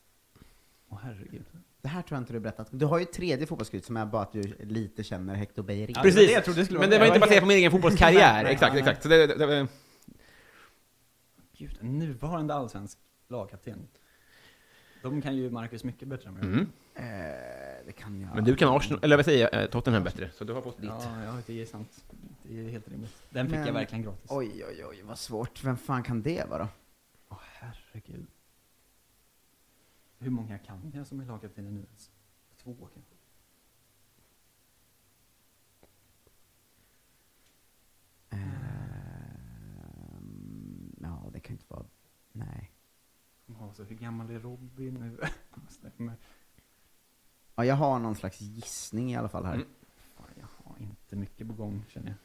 Åh herregud.
Det här tror jag inte du har berättat. Du har ju ett tredje fotbollsgud som är bara att du lite känner Hector Beirin.
Ja, Precis. det var det jag trodde det skulle vara. Men det var inte baserat på min egen fotbollskarriär.
Nej,
Exakt,
nej.
exakt. Så det- det- det-
Gud, en nuvarande allsvensk lagkapten. De kan ju Marcus mycket bättre än vad jag
Mm.
eh, Det kan jag.
Men du kan Arsenal, eller vad säger jag, eh, Tottenham bättre. Så du har fått ditt.
Ja, ja, det är sant. Det är helt rimligt. Den fick
Men-
jag verkligen gratis.
Oj, oj, oj, vad svårt. Vem fan kan det vara då?
Åh herregud. Hur många kan jag som är lagkapten nu ens? Två kanske?
Ehm, ja, det kan inte vara... Nej.
Ja, så hur gammal är Robin nu? Jag måste- men
Ja, jag har någon slags gissning i alla fall här.
Mm. Fan, jag har inte mycket på gång känner jag.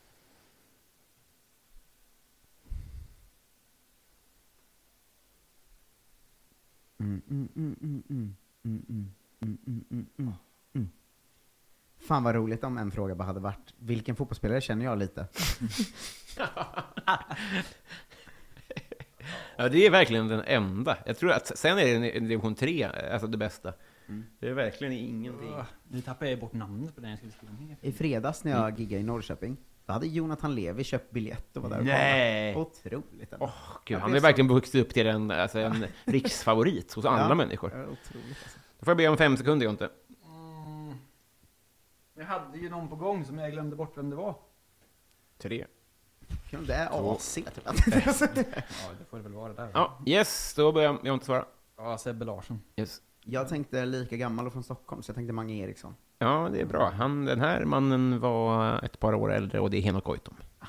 Mm, mm, mm, mm, mm, mm, mm, mm, mm, mm, mm, mm. Fan vad roligt om en fråga bara hade varit Vilken fotbollsspelare känner jag lite?
Ja, det är verkligen den enda. Jag tror att sen är det en- en division 3, alltså det bästa. Det är verkligen ingenting.
Åh, Nu tappar jag bort namnet på den jag skulle skriva ner.
I fredags när jag
Mm.
giggade i Norrköping, då hade Jonathan Levi köpt biljett och var där och
Nej.
kollade. Otroligt. alltså. ändå.
Gud,
Jag
han
blev
har
så-
verkligen vuxit upp till en, alltså en riksfavorit hos alla
Ja,
människor.
det är otroligt, alltså.
Då får jag be om fem sekunder, Jonte.
Mm. Jag hade ju någon på gång som jag glömde bort vem det var.
Tre.
Kan Det är typ.
Två.
AC tror jag.
Ja, det får det väl vara där.
Ja, yes, då börjar Jonte svara.
Ja, Sebbe Larsson.
Yes.
Jag tänkte lika gammal och från Stockholm, så jag tänkte Mange Eriksson.
Ja, det är bra. Han, den här mannen var ett par år äldre och det är Henok Goitom.
Ja,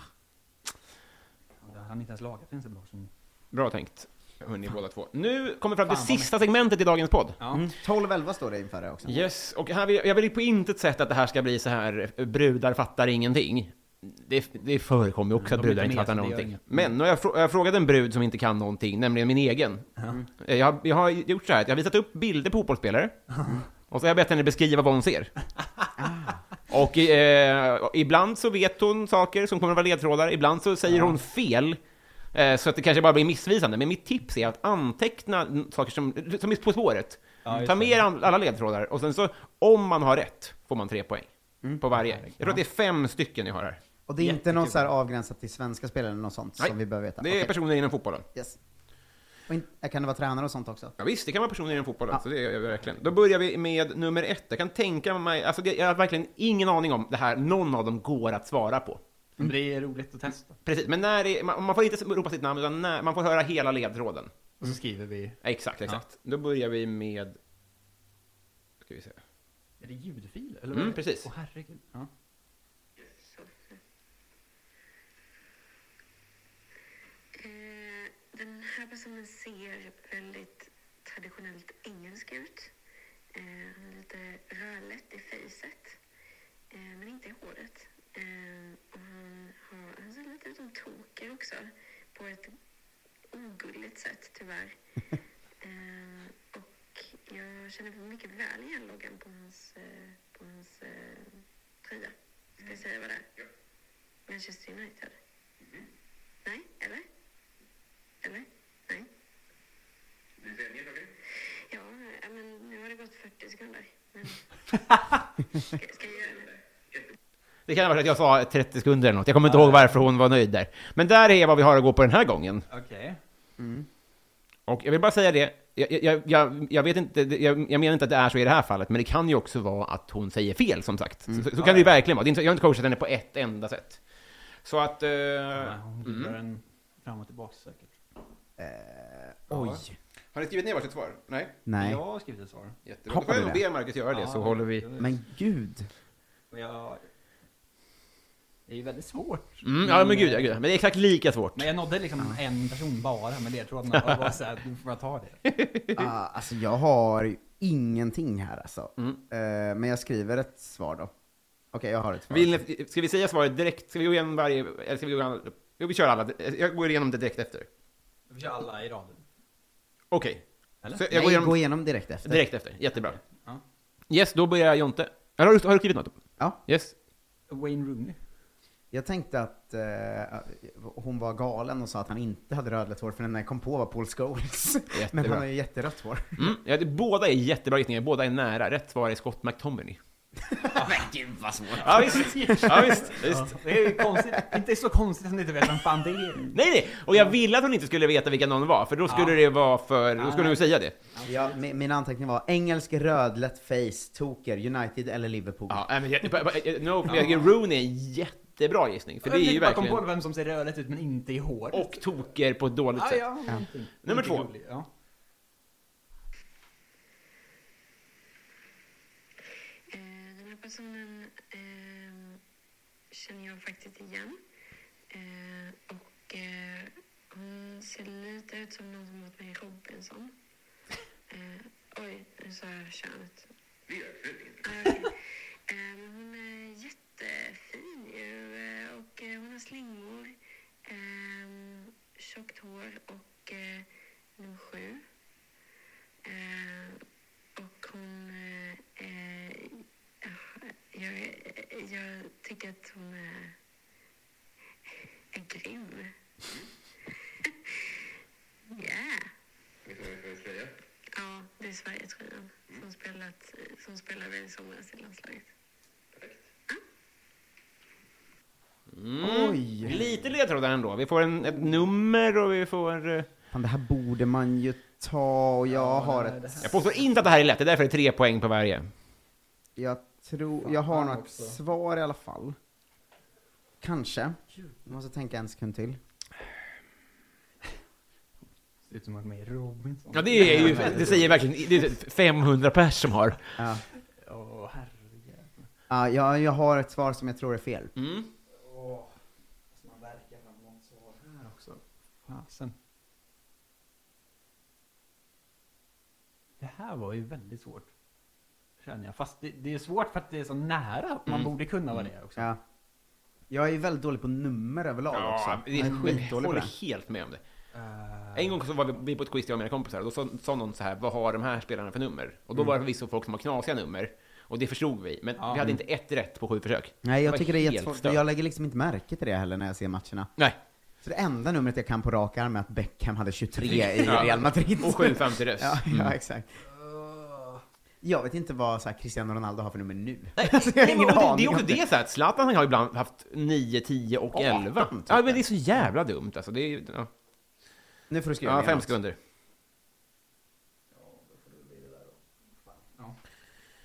Han är inte ens lagkapten Sebbe Larsson.
Bra tänkt, hörni båda två. Nu kommer vi fram till
Fan, vad
sista segmentet i dagens podd.
Mm. 12-11 står det inför det också.
Yes, och här vill, jag vill på intet sätt att det här ska bli så här eh, brudar fattar ingenting. Det, det förekommer ju också
Mm,
att
de är
brudar
inte
inte
med,
fattar
så det gör
någonting.
inget.
Men nu har jag, frå- jag har frågat en brud som inte kan någonting, nämligen min egen. Eh, Jag, har- jag har gjort så här, att jag har visat upp bilder på fotbollsspelare, och så har jag bett henne beskriva vad hon ser. Och eh, ibland så vet hon saker som kommer att vara ledtrådar, ibland så säger hon fel. Eh, så att det kanske bara blir missvisande. Men mitt tips är att anteckna n- saker som, som är På spåret.
Ja, just
Ta
det.
med all- alla ledtrådar, och sen så om man har rätt får man tre poäng.
Mm.
På varje. Jag tror att det är fem stycken jag har här.
Och det är inte något så här avgränsat till svenska spelare eller något sånt
Nej,
som vi behöver veta?
Det är
Okej.
personer inom fotbollen.
Yes. Och in, äh, kan det vara tränare och sånt också?
Ja, visst, det kan vara personer inom fotbollen.
Ja.
Så det är jag verkligen. Då börjar vi med nummer ett. Jag kan tänka mig, alltså det, jag har verkligen ingen aning om det här, någon av dem går att svara på.
Men det är roligt att testa.
Precis, men när det, man, man får inte ropa sitt namn, utan när, man får höra hela ledtråden.
Och så skriver vi...
Exakt, exakt. Då börjar vi med... Ska vi se.
Är det ljudfil? Eller vad är
Mm,
det?
precis.
Åh herregud. Ja.
Eh, Den här personen ser väldigt traditionellt engelsk ut. Eh, Han är lite rödlätt i fejset, eh, men inte i håret. Eh, Och han, har, han ser lite ut som Toker också, på ett ogulligt sätt tyvärr. Eh, Och jag känner mycket väl igen loggan på hans, eh, på hans eh, tröja. Ska jag säga vad det är? Manchester United? Nej, eller? Eller? Nej. Du väljer något? Ja, ja, men nu har det gått 40 sekunder. Men... ska, ska jag göra det?
Det kan vara att jag sa 30 sekunder eller något. Jag kommer inte ihåg varför hon var nöjd där. Men där är vad vi har att gå på den här gången.
Okej.
Och jag vill bara säga det, jag, jag, jag, jag vet inte, jag, jag menar inte att det är så i det här fallet, men det kan ju också vara att hon säger fel, som sagt. Så, så kan det ju verkligen vara. Det är inte, jag har inte coachat henne på ett enda sätt. Så att... eh,
Hon dribblar
mm.
den fram och tillbaka säkert.
Eh, Oj.
Har ni skrivit ner varsitt svar? Nej?
Nej.
Jag har skrivit ett svar.
Jättebra. Då får jag nog be Marcus göra det,
Ja,
så håller vi...
Men gud.
Men jag... Det är ju väldigt svårt.
Mm, ja, men gud, ja, gud. Men det är exakt lika svårt.
Men jag nådde liksom en person bara med det. Jag tror att man var såhär, du får bara ta det.
Ah, alltså jag har ju ingenting här alltså.
Mm.
Eh, men jag skriver ett svar då. Okej, jag har ett svar.
Vill ni, ska vi säga svaret direkt? Ska vi gå igenom varje... Eller ska vi gå igenom... Jo, vi kör alla. Jag går igenom det direkt efter.
Vi kör alla i raden.
Okej.
Eller?
Så
Nej, gå igenom direkt efter.
Direkt efter, jättebra.
Ja.
Yes, då börjar Jonte. Eller har du, har du skrivit något?
Ja.
Yes.
Wayne Rooney.
Jag tänkte att eh, hon var galen och sa att han inte hade rödlätt hår, för den jag kom på var Paul Scholes. Men han har ju jätterött hår.
Mm. Ja, det, båda är jättebra gissningar, båda är nära. Rätt svar är Scott McTominay.
Men gud vad svårt.
Ja, visst. Ja, visst. visst.
Det är ju konstigt. Inte så konstigt att ni inte vet vem fan det är.
Nej, nej! Och jag ville att hon inte skulle veta vilka någon var, för då skulle
Ja.
det vara för... Då
Ja,
skulle hon
nej.
säga det.
Ja, mi- min anteckning var engelsk rödlätt face, toker, United eller Liverpool.
Ja, nej, men jag, jag- jag- jag- no, men jag- Rooney är en jättebra gissning, för det är ju
Jag kom
verkligen...
på vem som ser rödlätt ut men inte i håret.
Och toker på ett dåligt
Ah,
sätt.
ja, någonting.
Nummer
Lite
två.
rolig, Ja.
Eh, Den här personen ehm, känner jag faktiskt igen. Eh, och eh, hon ser lite ut som någon som åt mig Robinson. Eh, oj, nu sa jag könet. Det gör okay. eh, men Hon är jättefin ju eh, och eh, hon har slingor, eh, tjockt hår och eh, nummer sju. Eh, och hon... Eh, eh, jag, jag tycker att hon är, är grym. Yeah. Ja, det är Sverigetröjan som, spelat, som spelade i somras i landslaget.
Mm.
Oj.
Lite ledtrådar ändå. Vi får en, ett nummer och vi får... eh,
Fan, det här borde man ju ta och jag har ett...
Jag påstår inte att det här är lätt, det är därför det är tre poäng på varje.
Jag tror... Jag har något svar i alla fall. Kanske. Jag måste tänka en sekund till.
Ser ut som att man är Robinson.
Ja, det är ju... Det säger verkligen... Det är 500 pers som har.
Ja,
Åh, herregud.
Ja, jag, jag har ett svar som jag tror är fel.
Mm.
Åh, måste man verka fram något svar här också? Fasen. Det här var ju väldigt svårt. Känner jag. Fast det, det är svårt för att det är så nära. Man borde kunna vad det är också.
Ja. Jag är ju väldigt dålig på nummer överlag också. Eh.
det
Jag
är
är skitdålig på
håller
det.
helt med om det. En gång så var vi- vi på ett quiz, jag och mina kompisar, och då sa, sa någon så här, vad har de här spelarna för nummer? Och
Mm.
då var det förvisso folk som har knasiga nummer, och det förstod vi, men vi hade inte ett rätt på sju försök.
Nej,
var
jag tycker det är
helt
jättesvårt.
stört.
Jag lägger liksom inte märke till det heller när jag ser matcherna.
Nej.
Så det enda numret jag kan på rak arm är att Beckham hade 23 i
Ja.
Real Madrid.
Och 7 fram till dess.
Ja,
Mm.
ja exakt. Jag vet inte vad så här, Cristiano Ronaldo har för nummer nu. Alltså,
Nej, men och det, det är också det så här, att Zlatan han har ibland haft 9, 10 och 11.
typ.
Ja, men det är så jävla dumt alltså. Det är, ju- ja.
Nu får du skriva
ja,
ner
fem
något.
sekunder.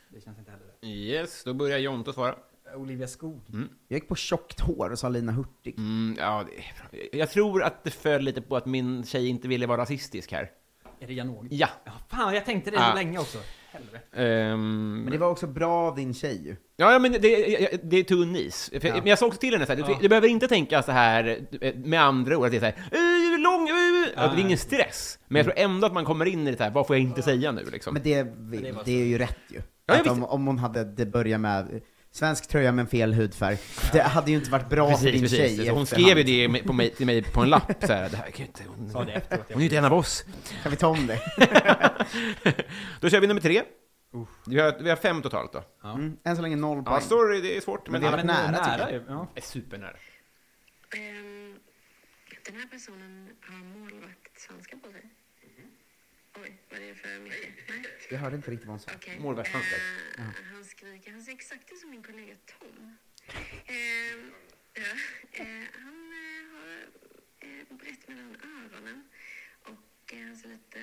Det känns inte heller rätt.
Yes, då börjar Jonte svara.
Olivia Skog.
Jag gick på tjockt hår och sa Lina Hurtig.
Mm, ja, det är bra. Jag tror att det föll lite på att min tjej inte ville vara rasistisk här.
Är det Janog?
Ja.
Fan, jag tänkte det
Ah.
länge också. Helvete.
Ehm,
Men det var också bra av din tjej ju.
Ja, ja, men det, det- det är tunn is. För-
Ja.
Men jag sa också till henne så här, du,
Ja.
du behöver inte tänka så här eh, med andra ord, att det är så här, "Eh, lång, eh, eh." att det är ingen stress. Men jag tror ändå att man kommer in i det här, vad får jag inte säga nu liksom?
Men det,
det var
det är ju rätt ju.
Ja,
Att
ja,
om, om hon hade det börjat med eh, svensk tröja med fel hudfärg, det hade ju inte varit bra för din
Precis,
tjej
precis.
i
Så hon
efterhand.
skrev ju det med- på mig, till mig på en lapp så här, det här kan ju inte, hon,
Sa det efteråt,
hon är ju inte en av oss.
Kan vi ta om det?
Då kör vi nummer tre. Vi har, vi har fem totalt då.
Mm, än så länge noll
Ja,
poäng.
sorry, det är svårt, men,
Men
det är
det nära, tycker
jag. Ja.
är supernära.
Ehm, den här personen har målvaktshandskar på sig. Oj, vad är det för mycket? Nej,
Jag hörde inte riktigt vad hon sa.
okej.
Målvaktshandskar.
Eh, han skriker. Han ser exakt ut som min kollega Tom. Ehm, ja, eh, han eh, har eh, brett mellan öronen och eh, han ser lite...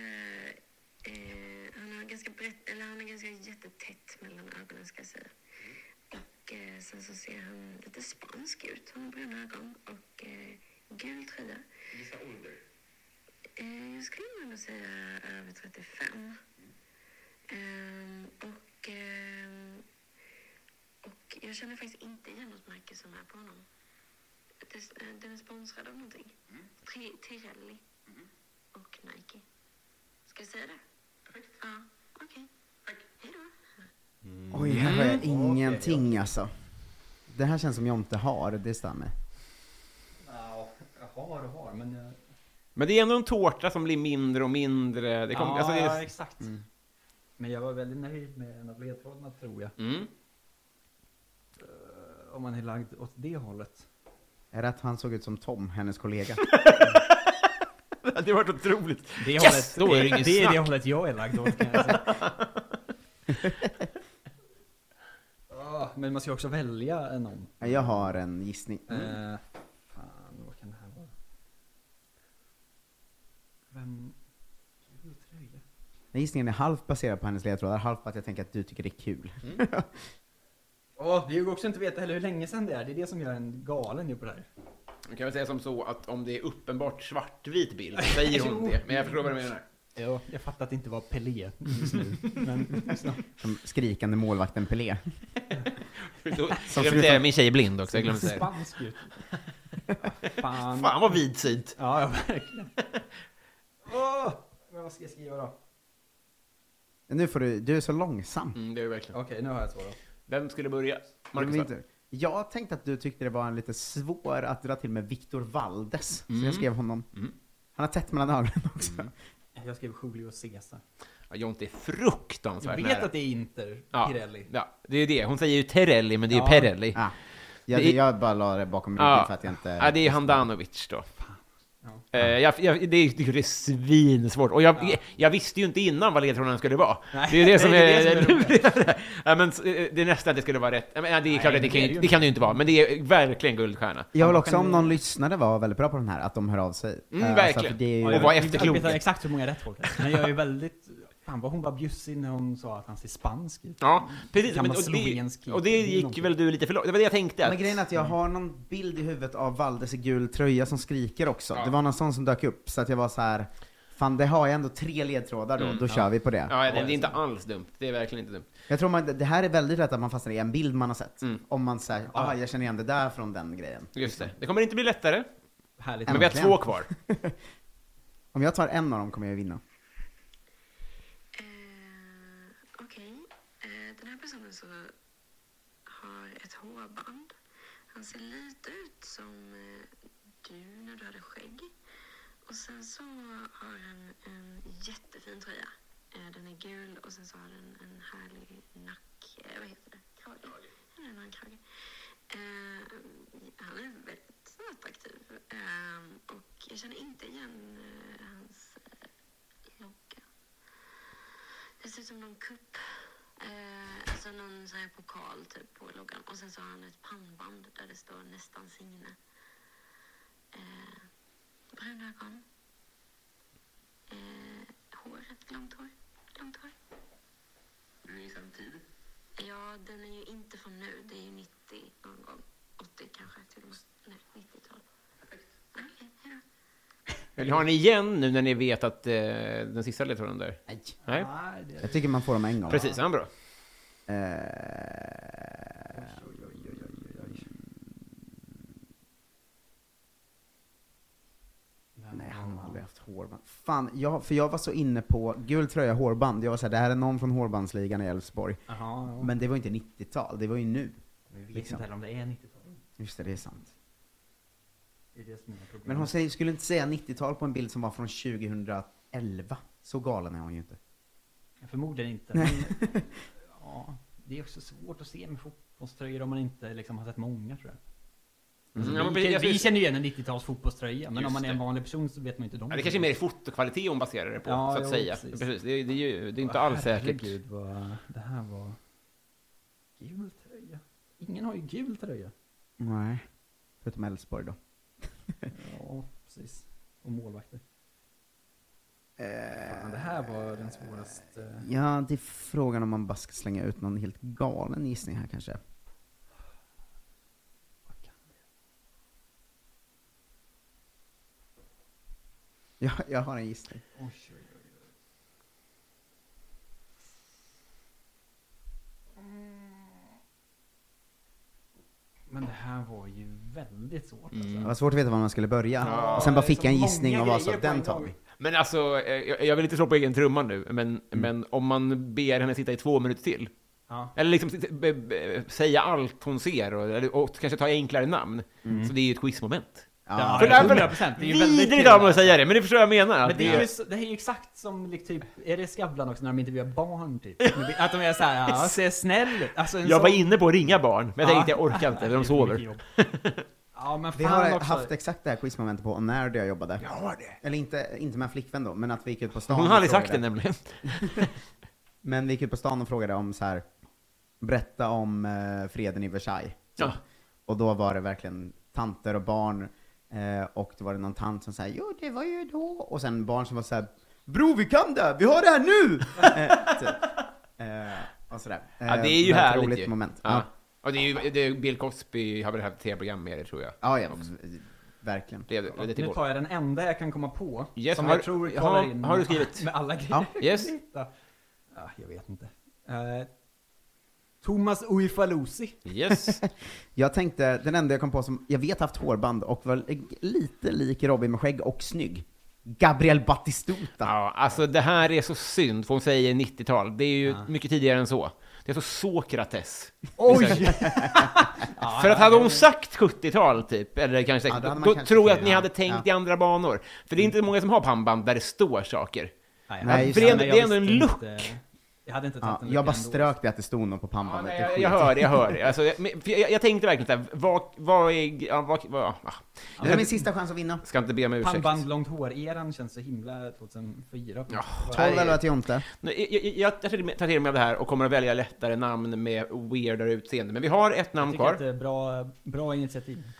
Eh, han har ganska brett, eller han är ganska jättetätt mellan ögonen ska jag säga. Och eh, sen så ser han lite spansk ut. Han har bruna ögon och eh, gul tröja. Gissa ålder. Eh, jag skulle nog nog säga över 35. Ehm, och, ehm, och jag känner faktiskt inte igen något märke som är på honom. Det, eh, den är sponsrad av någonting. Tri- Tirelli och Nike. Ska jag säga det? Perfekt. Ja, okej. Hej då.
Oj, här har
Mm.
jag ingenting alltså. Det här känns som jag inte har, det stämmer.
Ja, jag har och har, men... Jag...
Men det är ändå en tårta som blir mindre och mindre. Det kom,
ja,
alltså det
ja,
är,
exakt. Men jag var väldigt nöjd med en av ledtrådarna, tror jag.
Mm.
Eh, Om man är lagd åt det hållet.
Är det att han såg ut som Tom, hennes kollega?
det hade varit otroligt.
Det
yes!
hållet-
Då är det inget
det är det
snack.
hållet jag är lagd åt, kan jag säga. Ja, men man ska ju också välja eh, någon.
Jag har en gissning.
Eh, fan, vad kan det här vara? Vem... Gul tröja?
Den gissningen är halvt baserad på hennes ledtrådar, halvt på att jag tänker att du tycker det är kul.
Mm. Åh, vi vill också inte veta heller hur länge sedan det är. Det är det som gör en galen ju på det här.
Man kan väl säga som så att om det är uppenbart svartvit bild så säger hon det. Men jag förstår vad du menar.
Ja, jag fattar att det inte var Pelé just nu. men snabbt.
Som skrikande målvakten Pelé.
Jag glömde säga, min tjej är blind också. Jag glömde säga det.
Spansk ut. Ja, Fan.
Fan vad vidsynt.
Ja, ja verkligen. Åh! Men vad ska jag skriva då?
Nu får du, du är så långsam.
Mm, det är det verkligen.
Okej, nu har jag ett svar då.
Vem skulle börja? Marcus
Men
va?
inte- Jag tänkte att du tyckte det var en lite svår att dra till med Victor Valdes,
Mm.
så jag skrev honom. Han har tätt mellan ögonen också.
Jag skrev Julio Cesar.
Ja, Jonte är fruktansvärt
Jag vet
nära.
att det är Inter,
Ja.
Pirelli.
Ja, det är ju det. Hon säger ju Terrelli, men det är ju
Ja.
Perelli.
Ah. Jag,
Det är-
jag bara la det bakom ryggen
Ja,
för att jag inte...
ja, det är Handanovic då. Eh, jag, jag, det, är, det är svinsvårt. Och jag, jag visste ju inte innan vad ledtrådarna skulle vara.
Nej,
det är ju det som
det är
är...
det som är
ja, men, eh, det är nästan att det skulle vara rätt. Ja, men, ja, det är
Nej,
klart att det
det
kan,
är
ju
det
inte-
ju
det kan det ju inte vara, men det är verkligen guldstjärna.
Jag vill också om någon lyssnare var väldigt bra på den här, att de hör av sig.
Mm,
Eh,
alltså,
så
verkligen.
att det är ju-
Och
jag
var
vet inte
efterklok.
exakt hur många rätt folk har. Men jag är väldigt... Fan vad hon var bjussig när hon sa att han ser spansk ut.
Ja, precis.
Gammal
Men, och,
slovensk
det,
kid.
och det gick
Någonting.
väl du lite för långt? Det var det jag tänkte.
Men
Att,
grejen är att jag har någon bild i huvudet av Valdes i gul tröja som skriker också. Det var någon sån som dök upp, så att jag var så här. Fan, det har jag ändå tre ledtrådar då,
Mm,
då kör vi på det.
ja, det, det är inte alls dumt. Det är verkligen inte dumt.
Jag tror man, det här är väldigt lätt att man fastnar i en bild man har sett.
Mm.
Om man säger, ah jag känner igen det där från den grejen.
Just det. Det kommer inte bli lättare.
Härligt.
Men vi har
Äntligen.
två kvar.
Om jag tar en av dem kommer jag vinna.
Okej. Eh, Den här personen så har ett hårband. Han ser lite ut som eh, du när du hade skägg. Och sen så har han en jättefin tröja. Eh, Den är gul och sen så har den en härlig nack... eh, Vad heter det? Krage? Han har en krage. Eh, Han är väldigt attraktiv. Eh, Och jag känner inte igen eh, hans eh, logga. Det ser ut som någon kupp. Eh, alltså någon sån här pokal typ på loggan. Och sen så har han ett pannband där det står nästan Signe. Eh, bruna ögon. Eh, håret, långt hår. Långt hår.
Du är i samtid.
Ja, den är ju inte från nu. Det är ju 90 någon gång. 80 kanske till och med. Nej, 90-tal. Okej, hejdå.
Vill ni ha den igen nu när ni vet att eh, den sista ledtråden där?
Nej.
Nej.
Ah.
Jag tycker man får dem en gång.
Precis, han är bra.
Mm.
Eh, Nej, han har aldrig haft hårband. Fan, jag, för jag var så inne på gul tröja, hårband. Jag var såhär, det här är någon från hårbandsligan i Elfsborg.
Jaha, ja.
Men det var ju inte 90-tal, det var ju nu.
Vi vet
liksom.
inte heller om det är 90-tal.
Just det, det är sant.
Det är det som är problemet.
Men hon säger, skulle inte säga 90-tal på en bild som var från 2011. Så galen är hon ju inte.
Jag förmodar inte. Men, ja, det är också svårt att se med fotbollströjor om man inte liksom, har sett många tror jag.
Mm, ja,
vi,
men precis, jag
vi
syns-
känner ju igen en 90-tals fotbollströja, men om
Just
man är en
det.
vanlig person så vet man ju inte dem.
Ja, det kanske är mer fotokvalitet hon baserar det på,
Ja,
så att
jo,
säga.
precis.
Precis. Det, det är ju det är inte alls säkert.
Herregud vad... Det här var... Gul tröja. Ingen har ju gul tröja.
Nej. Förutom Elfsborg då.
Ja, precis. Och målvakter. Fan, det här var den svåraste...
Ja, det är frågan om man bara ska slänga ut någon helt galen gissning här kanske. Jag, jag har en gissning.
Men det här var ju väldigt svårt. alltså.
Mm. Det var svårt att veta var man skulle börja.
Ja,
och sen bara
det är
fick
så
jag en gissning
många
och var så
grejer
att
på en
den tar vi.
Men alltså, eh, jag, jag vill inte slå på egen trumma nu, men,
Mm.
men om man ber henne sitta i två minuter till.
Ja.
Eller liksom sitta- be, be, säga allt hon ser och, eller- och kanske ta enklare namn.
Mm.
Så det är ju ett quizmoment.
Ja,
För-
ja,
för-
100%. Det är ju väldigt
Vidrigt
kul.
av mig att säga det, men ni förstår vad jag menar.
Men det är,
Ja.
ju, så- det här är ju exakt som, lik, typ, är det Skavlan också när de intervjuar barn typ? Att de är såhär, ja, se snäll ut." alltså, en
Jag var
sån-
inne på att ringa barn, men jag
Ja.
tänkte jag orkar inte, de sover.
Ja men
Vi
fan
har
också.
haft exakt det här quizmomentet på när jag jobbade. Jag har det. Eller inte, inte med en flickvän då, men att vi gick ut på stan
Hon
och
har aldrig
frågade.
sagt det nämligen.
Men vi gick ut på stan och frågade om så här, berätta om eh, freden i Versailles.
Ja.
Och då var det verkligen tanter och barn, eh, och då var det någon tant som sa jo det var ju då, och sen barn som var så här, bror vi kan det, vi har det här nu! eh, typ. eh, och sådär.
Ja, det
Eh,
är ju
väldigt
härligt
roligt
ju.
moment.
Ja.
Ja.
Och det är ju, det är Bill Cosby har väl haft tv-program med det tror jag.
Ja, ja, verkligen.
Det, det, det,
Nu tar jag den enda jag kan komma på.
Yes,
som
har-
jag tror
har-
kollar in
har du
med-
skrivit?
med alla grejer
Ja.
jag
Yes.
kan hitta. Ja, jag vet inte. Eh, Thomas Uifalusi.
Yes.
jag tänkte, den enda jag kom på som jag vet haft hårband och var lite lik Robin med skägg och snygg. Gabriel Batistuta.
Ja, alltså det här är så synd, för hon säger 90-tal. Det är ju mycket tidigare än så. Det är så Sokrates. Liksom.
Oj!
för att hade hon sagt 70-tal typ, eller kanske
Ja, då hade man
då
kanske
tror jag att
fel,
ni
ja.
hade tänkt
Ja.
i andra banor. För det är inte många som har pannband där det står saker.
Nej,
Nej, just
för det,
det.
är,
Men jag
det är ändå en
visste
look.
inte- Jag hade inte tagit
Ja,
en
jag bara
lucka ändå.
strök det att det stod något på pannbandet.
Ja,
Det är
jag,
skit.
jag hör det, jag hör det. Alltså, jag, men- för jag, jag tänkte verkligen såhär, vad, vad är... Ja, vad, vad, ah.
det är min sista chans att vinna.
Ska inte be om ursäkt.
Pannband långt hår-eran känns så himla 2004.
Ja.
Tolv eller att jag inte.
Nej, Jag, jag, jag tar till mig- tar till mig av det här och kommer att välja lättare namn med weirdare utseende. Men vi har ett
Jag
namn
tycker att
kvar.
det är bra, bra initiativ.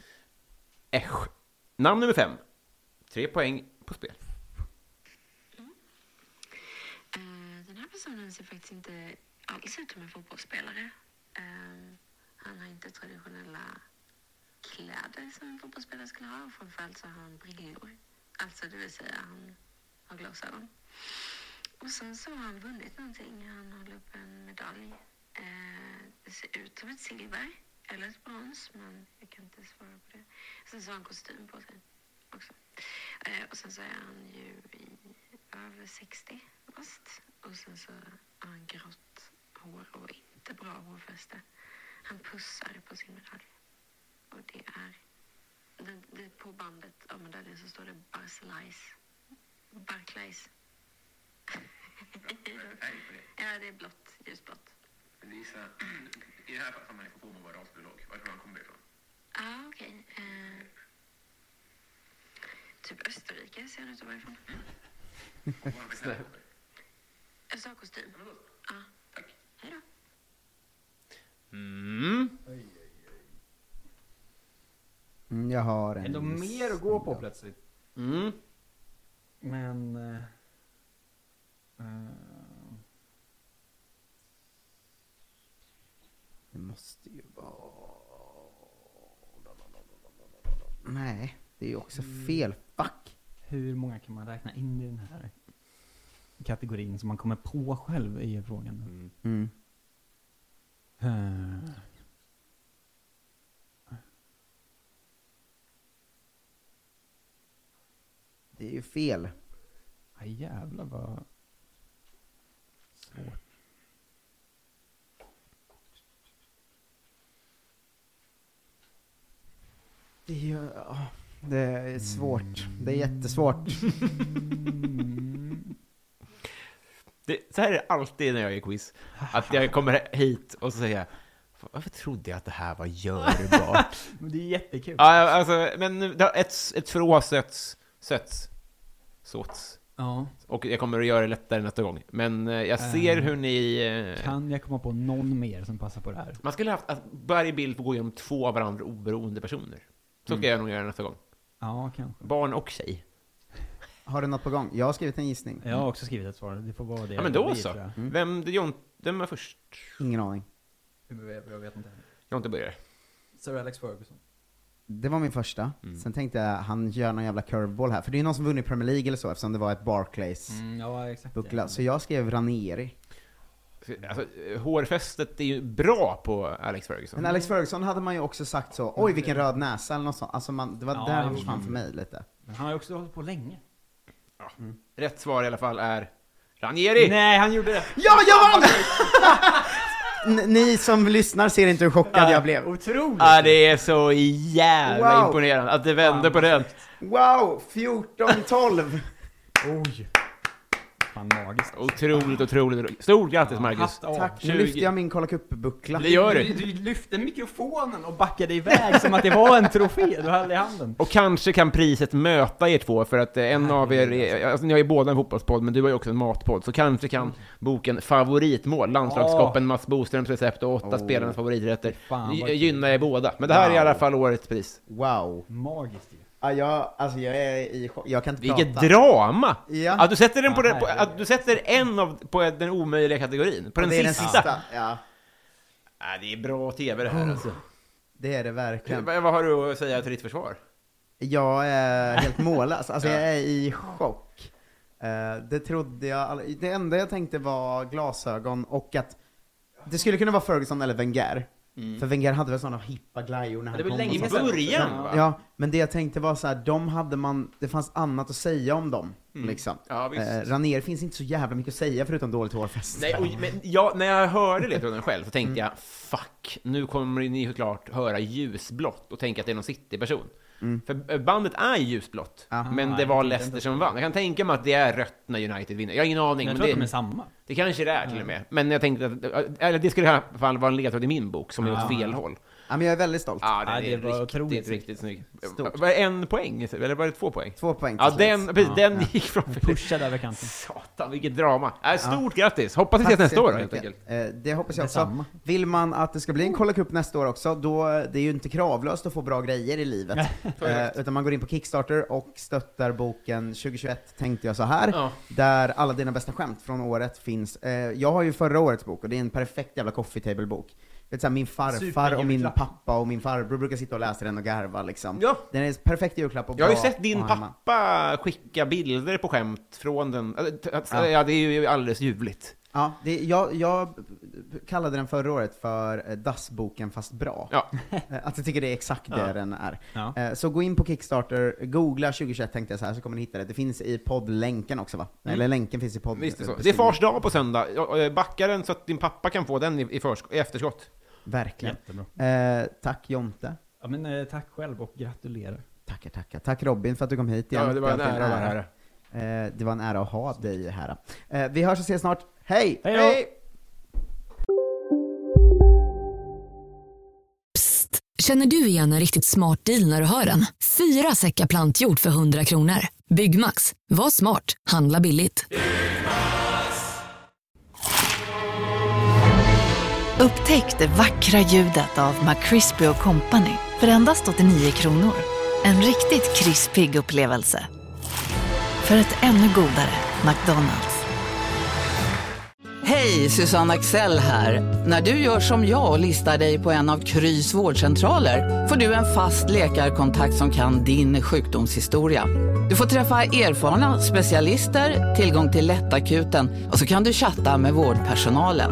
Äsch. Namn nummer fem. Tre poäng på spel.
Eh, Den här personen ser faktiskt inte alls ut som en fotbollsspelare. Eh, Han har inte traditionella kläder som en fotbollsspelare skulle ha. och Framförallt så har han brillor. Alltså det vill säga han har glasögon. Och sen så har han vunnit någonting. Han håller upp en medalj. Eh, Det ser ut som ett silver eller ett brons men jag kan inte svara på det. Sen så har han kostym på sig också. Eh, Och sen så är han ju i över 60 bast. Och sen så har han grått hår och inte bra hårfäste. Han pussar på sin medalj. Och det är... Det, det, på bandet av medaljen så står det Barcelays. Barclays. ja, det är blått. Ljusblått.
Lisa, i det här sammanhanget får man vara rasbiolog. Var tror du han kommer ifrån?
ah, okej. Eh, typ Österrike ser han ut att vara ifrån. Jag sa kostym. Ja. Hej då.
Mm.
Mm, Jag har en
Ändå
gissning.
mer att gå på plötsligt.
Mm.
Men... eh, eh,
Det måste ju vara... Nej, det är ju också
Mm.
fel. Fuck!
hur många kan man räkna in i den här kategorin som man kommer på själv är ju frågan.
Mm.
Eh,
Det är ju fel.
Ja, jävlar vad svårt.
Det är ju... ah, Det är svårt. Det är
Mm.
jättesvårt.
Det, så här är det alltid när jag gör quiz. Att jag kommer hit och så säger jag, "Fan, varför trodde jag att det här var görbart?
Men det är jättekul.
ja, alltså, men det har ett, ett frå söts, söts, såts.
Ja.
Och jag kommer att göra det lättare nästa gång. Men eh, jag ser
Eh,
hur ni... eh,
Kan jag komma på någon mer som passar på det här?
Man skulle haft att varje bild får gå igenom två av varandra oberoende personer. Så ska
Mm.
jag nog göra nästa gång.
Ja, kanske.
Barn och tjej.
Har du något på gång? Jag har skrivit en gissning.
Jag har också skrivit ett svar, det får vara det.
Ja, men
det
då
blir,
så.
tror jag. Mm.
Vem, det är Jon, vem är först?
Ingen aning.
Jag vet inte.
Jonte börjar.
Sir Alex Ferguson.
Det var min första. Sen tänkte jag, han gör någon jävla curveball här. För det är ju någon som vunnit Premier League eller så eftersom det var ett Barclays
Mm, ja, exakt.
buckla. Så jag skrev Ranieri.
Alltså, hårfästet är ju bra på Alex Ferguson.
Men Alex Ferguson hade man ju också sagt så, oj vilken röd näsa eller något sånt. Alltså man, det var
Ja,
där han
jo.
försvann för mig lite.
Men han har ju också hållit på länge.
Rätt svar i alla fall är Ranieri!
Nej, han gjorde det!
Ja, jag vann! N- ni som lyssnar ser inte hur chockad jag blev. Ah.
Otroligt!
Ja, det är så jävla
Wow.
imponerande att det vände på den.
Wow, 14-12!
Oj! Fan magiskt.
Otroligt, otroligt. Stort grattis Marcus!
Tack, nu
20.
lyfte jag min kolla buckla
Det gör
du. Du lyfte mikrofonen och backade iväg som att det var en trofé du höll i handen.
Och kanske kan priset möta er två, för att eh, en av er är, alltså, Mm. ni har ju båda en fotbollspodd, men du har ju också en matpodd, så kanske kan boken Favoritmål, landslagskoppen Mats Boströms recept och åtta
Åh.
spelarnas favoriträtter
Fan, vad
gy- gynna er båda. Men det här är i
Wow.
alla fall årets pris.
Wow.
Magiskt ju.
Ja, jag, alltså jag är i chock. Jag kan inte
Vilket
prata.
drama!
Ja.
Att du sätter, den på
Ja,
den, på, att du sätter en av, på den omöjliga kategorin, på
Ja,
den,
det är den
sista.
sista, Ja.
Nej, det är bra TV det här alltså.
Det är det verkligen.
Vad vad har du att säga till ditt försvar?
Jag är helt mållös. Alltså jag är i chock. Eh, Det trodde jag all- Det enda jag tänkte var glasögon och att det skulle kunna vara Ferguson eller Wenger.
Mm.
För Wenger hade väl sådana hippa glajjor när han
Det var
kom.
länge
och
i
sånt.
början,
Men-
va?
Ja, men det jag tänkte var så här, de hade man, det fanns annat att säga om dem.
Mm.
Liksom.
Ja, visst.
Eh, Ranieri finns inte så jävla mycket att säga förutom dåligt hårfäste.
Nej, och, men jag, när jag hörde ledtråden själv så
Mm.
tänkte jag fuck, nu kommer ni såklart höra ljusblått och tänka att det är någon cityperson.
Mm.
För eh, bandet är ljusblått, men det
jag
var
tänkte
Leicester
inte
som vann. Jag kan tänka mig att det är rött när United vinner. Jag har ingen aning.
Jag
men
tror att
det,
de är samma.
det kanske det är till och med. Men jag tänkte att eh, eller, det skulle i alla fall vara en ledtråd i min bok som är åt
Ja.
fel håll.
Ja, men jag är väldigt stolt.
Ja, den
Ja, det
är
var otroligt
riktigt,
snyggt.
riktigt snygg.
Stort.
Var det en poäng? Eller var det två poäng?
Två poäng till
Ja,
slut.
den, precis,
Ja.
den gick framför.
Pushade över kanten.
Satan, vilket drama. Äh, stort grattis! Hoppas vi ses
Tack så
nästa år då, helt
jättemycket.
enkelt.
Eh, Det hoppas jag också.
Detsamma.
Vill man att det ska bli en Kolla Cup nästa år också, då det är ju inte kravlöst att få bra grejer i livet. eh, utan man går in på Kickstarter och stöttar boken 2021 tänkte jag så här,
Ja.
där alla dina bästa skämt från året finns. Eh, jag har ju förra årets bok och det är en perfekt jävla coffee table bok. Vet så här, min farfar och min
Superjulklapp.
pappa och min farbror brukar sitta och läsa den och garva liksom.
Ja.
Den är en perfekt julklapp och
Jag har ju
bra
sett din
att ha hemma.
pappa skicka bilder på skämt från den. Äh, t- att-
Ja.
Ja, det är ju alldeles ljuvligt.
Ja, det, jag, jag kallade den förra året för eh, dassboken fast bra.
Ja.
Eh, Att jag tycker det är exakt det
Ja.
den är.
Ja.
Eh, Så gå in på Kickstarter, googla 2021 tänkte jag så här så kommer ni hitta det. Det finns i poddlänken också va? Eller länken finns i podden.
Mm. Visst är det så. Det är fars dag på söndag. Ja, ja, Backa den så att din pappa kan få den i, i, försk- i efterskott.
Verkligen.
Jättebra.
Eh, tack Jonte.
Ja, men eh, tack själv och gratulerar.
Tackar, tackar. Tack Robin för att du kom hit
Ja, det var en
alltid
ära att vara här.
Eh, Det var en ära att ha dig här. Eh, Vi hörs och ses snart. Hej!
Hej då!
Känner du igen en riktigt smart deal när du hör den? Fyra säckar plantjord för 100 kronor. Byggmax, var smart, handla billigt.
Upptäck det vackra ljudet av McCrispy Company för endast 89 kronor. En riktigt krispig upplevelse. För ett ännu godare McDonalds.
Hej, Susanne Axel här. När du gör som jag och listar dig på en av Krys vårdcentraler får du en fast läkarkontakt som kan din sjukdomshistoria. Du får träffa erfarna specialister, tillgång till lättakuten och så kan du chatta med vårdpersonalen.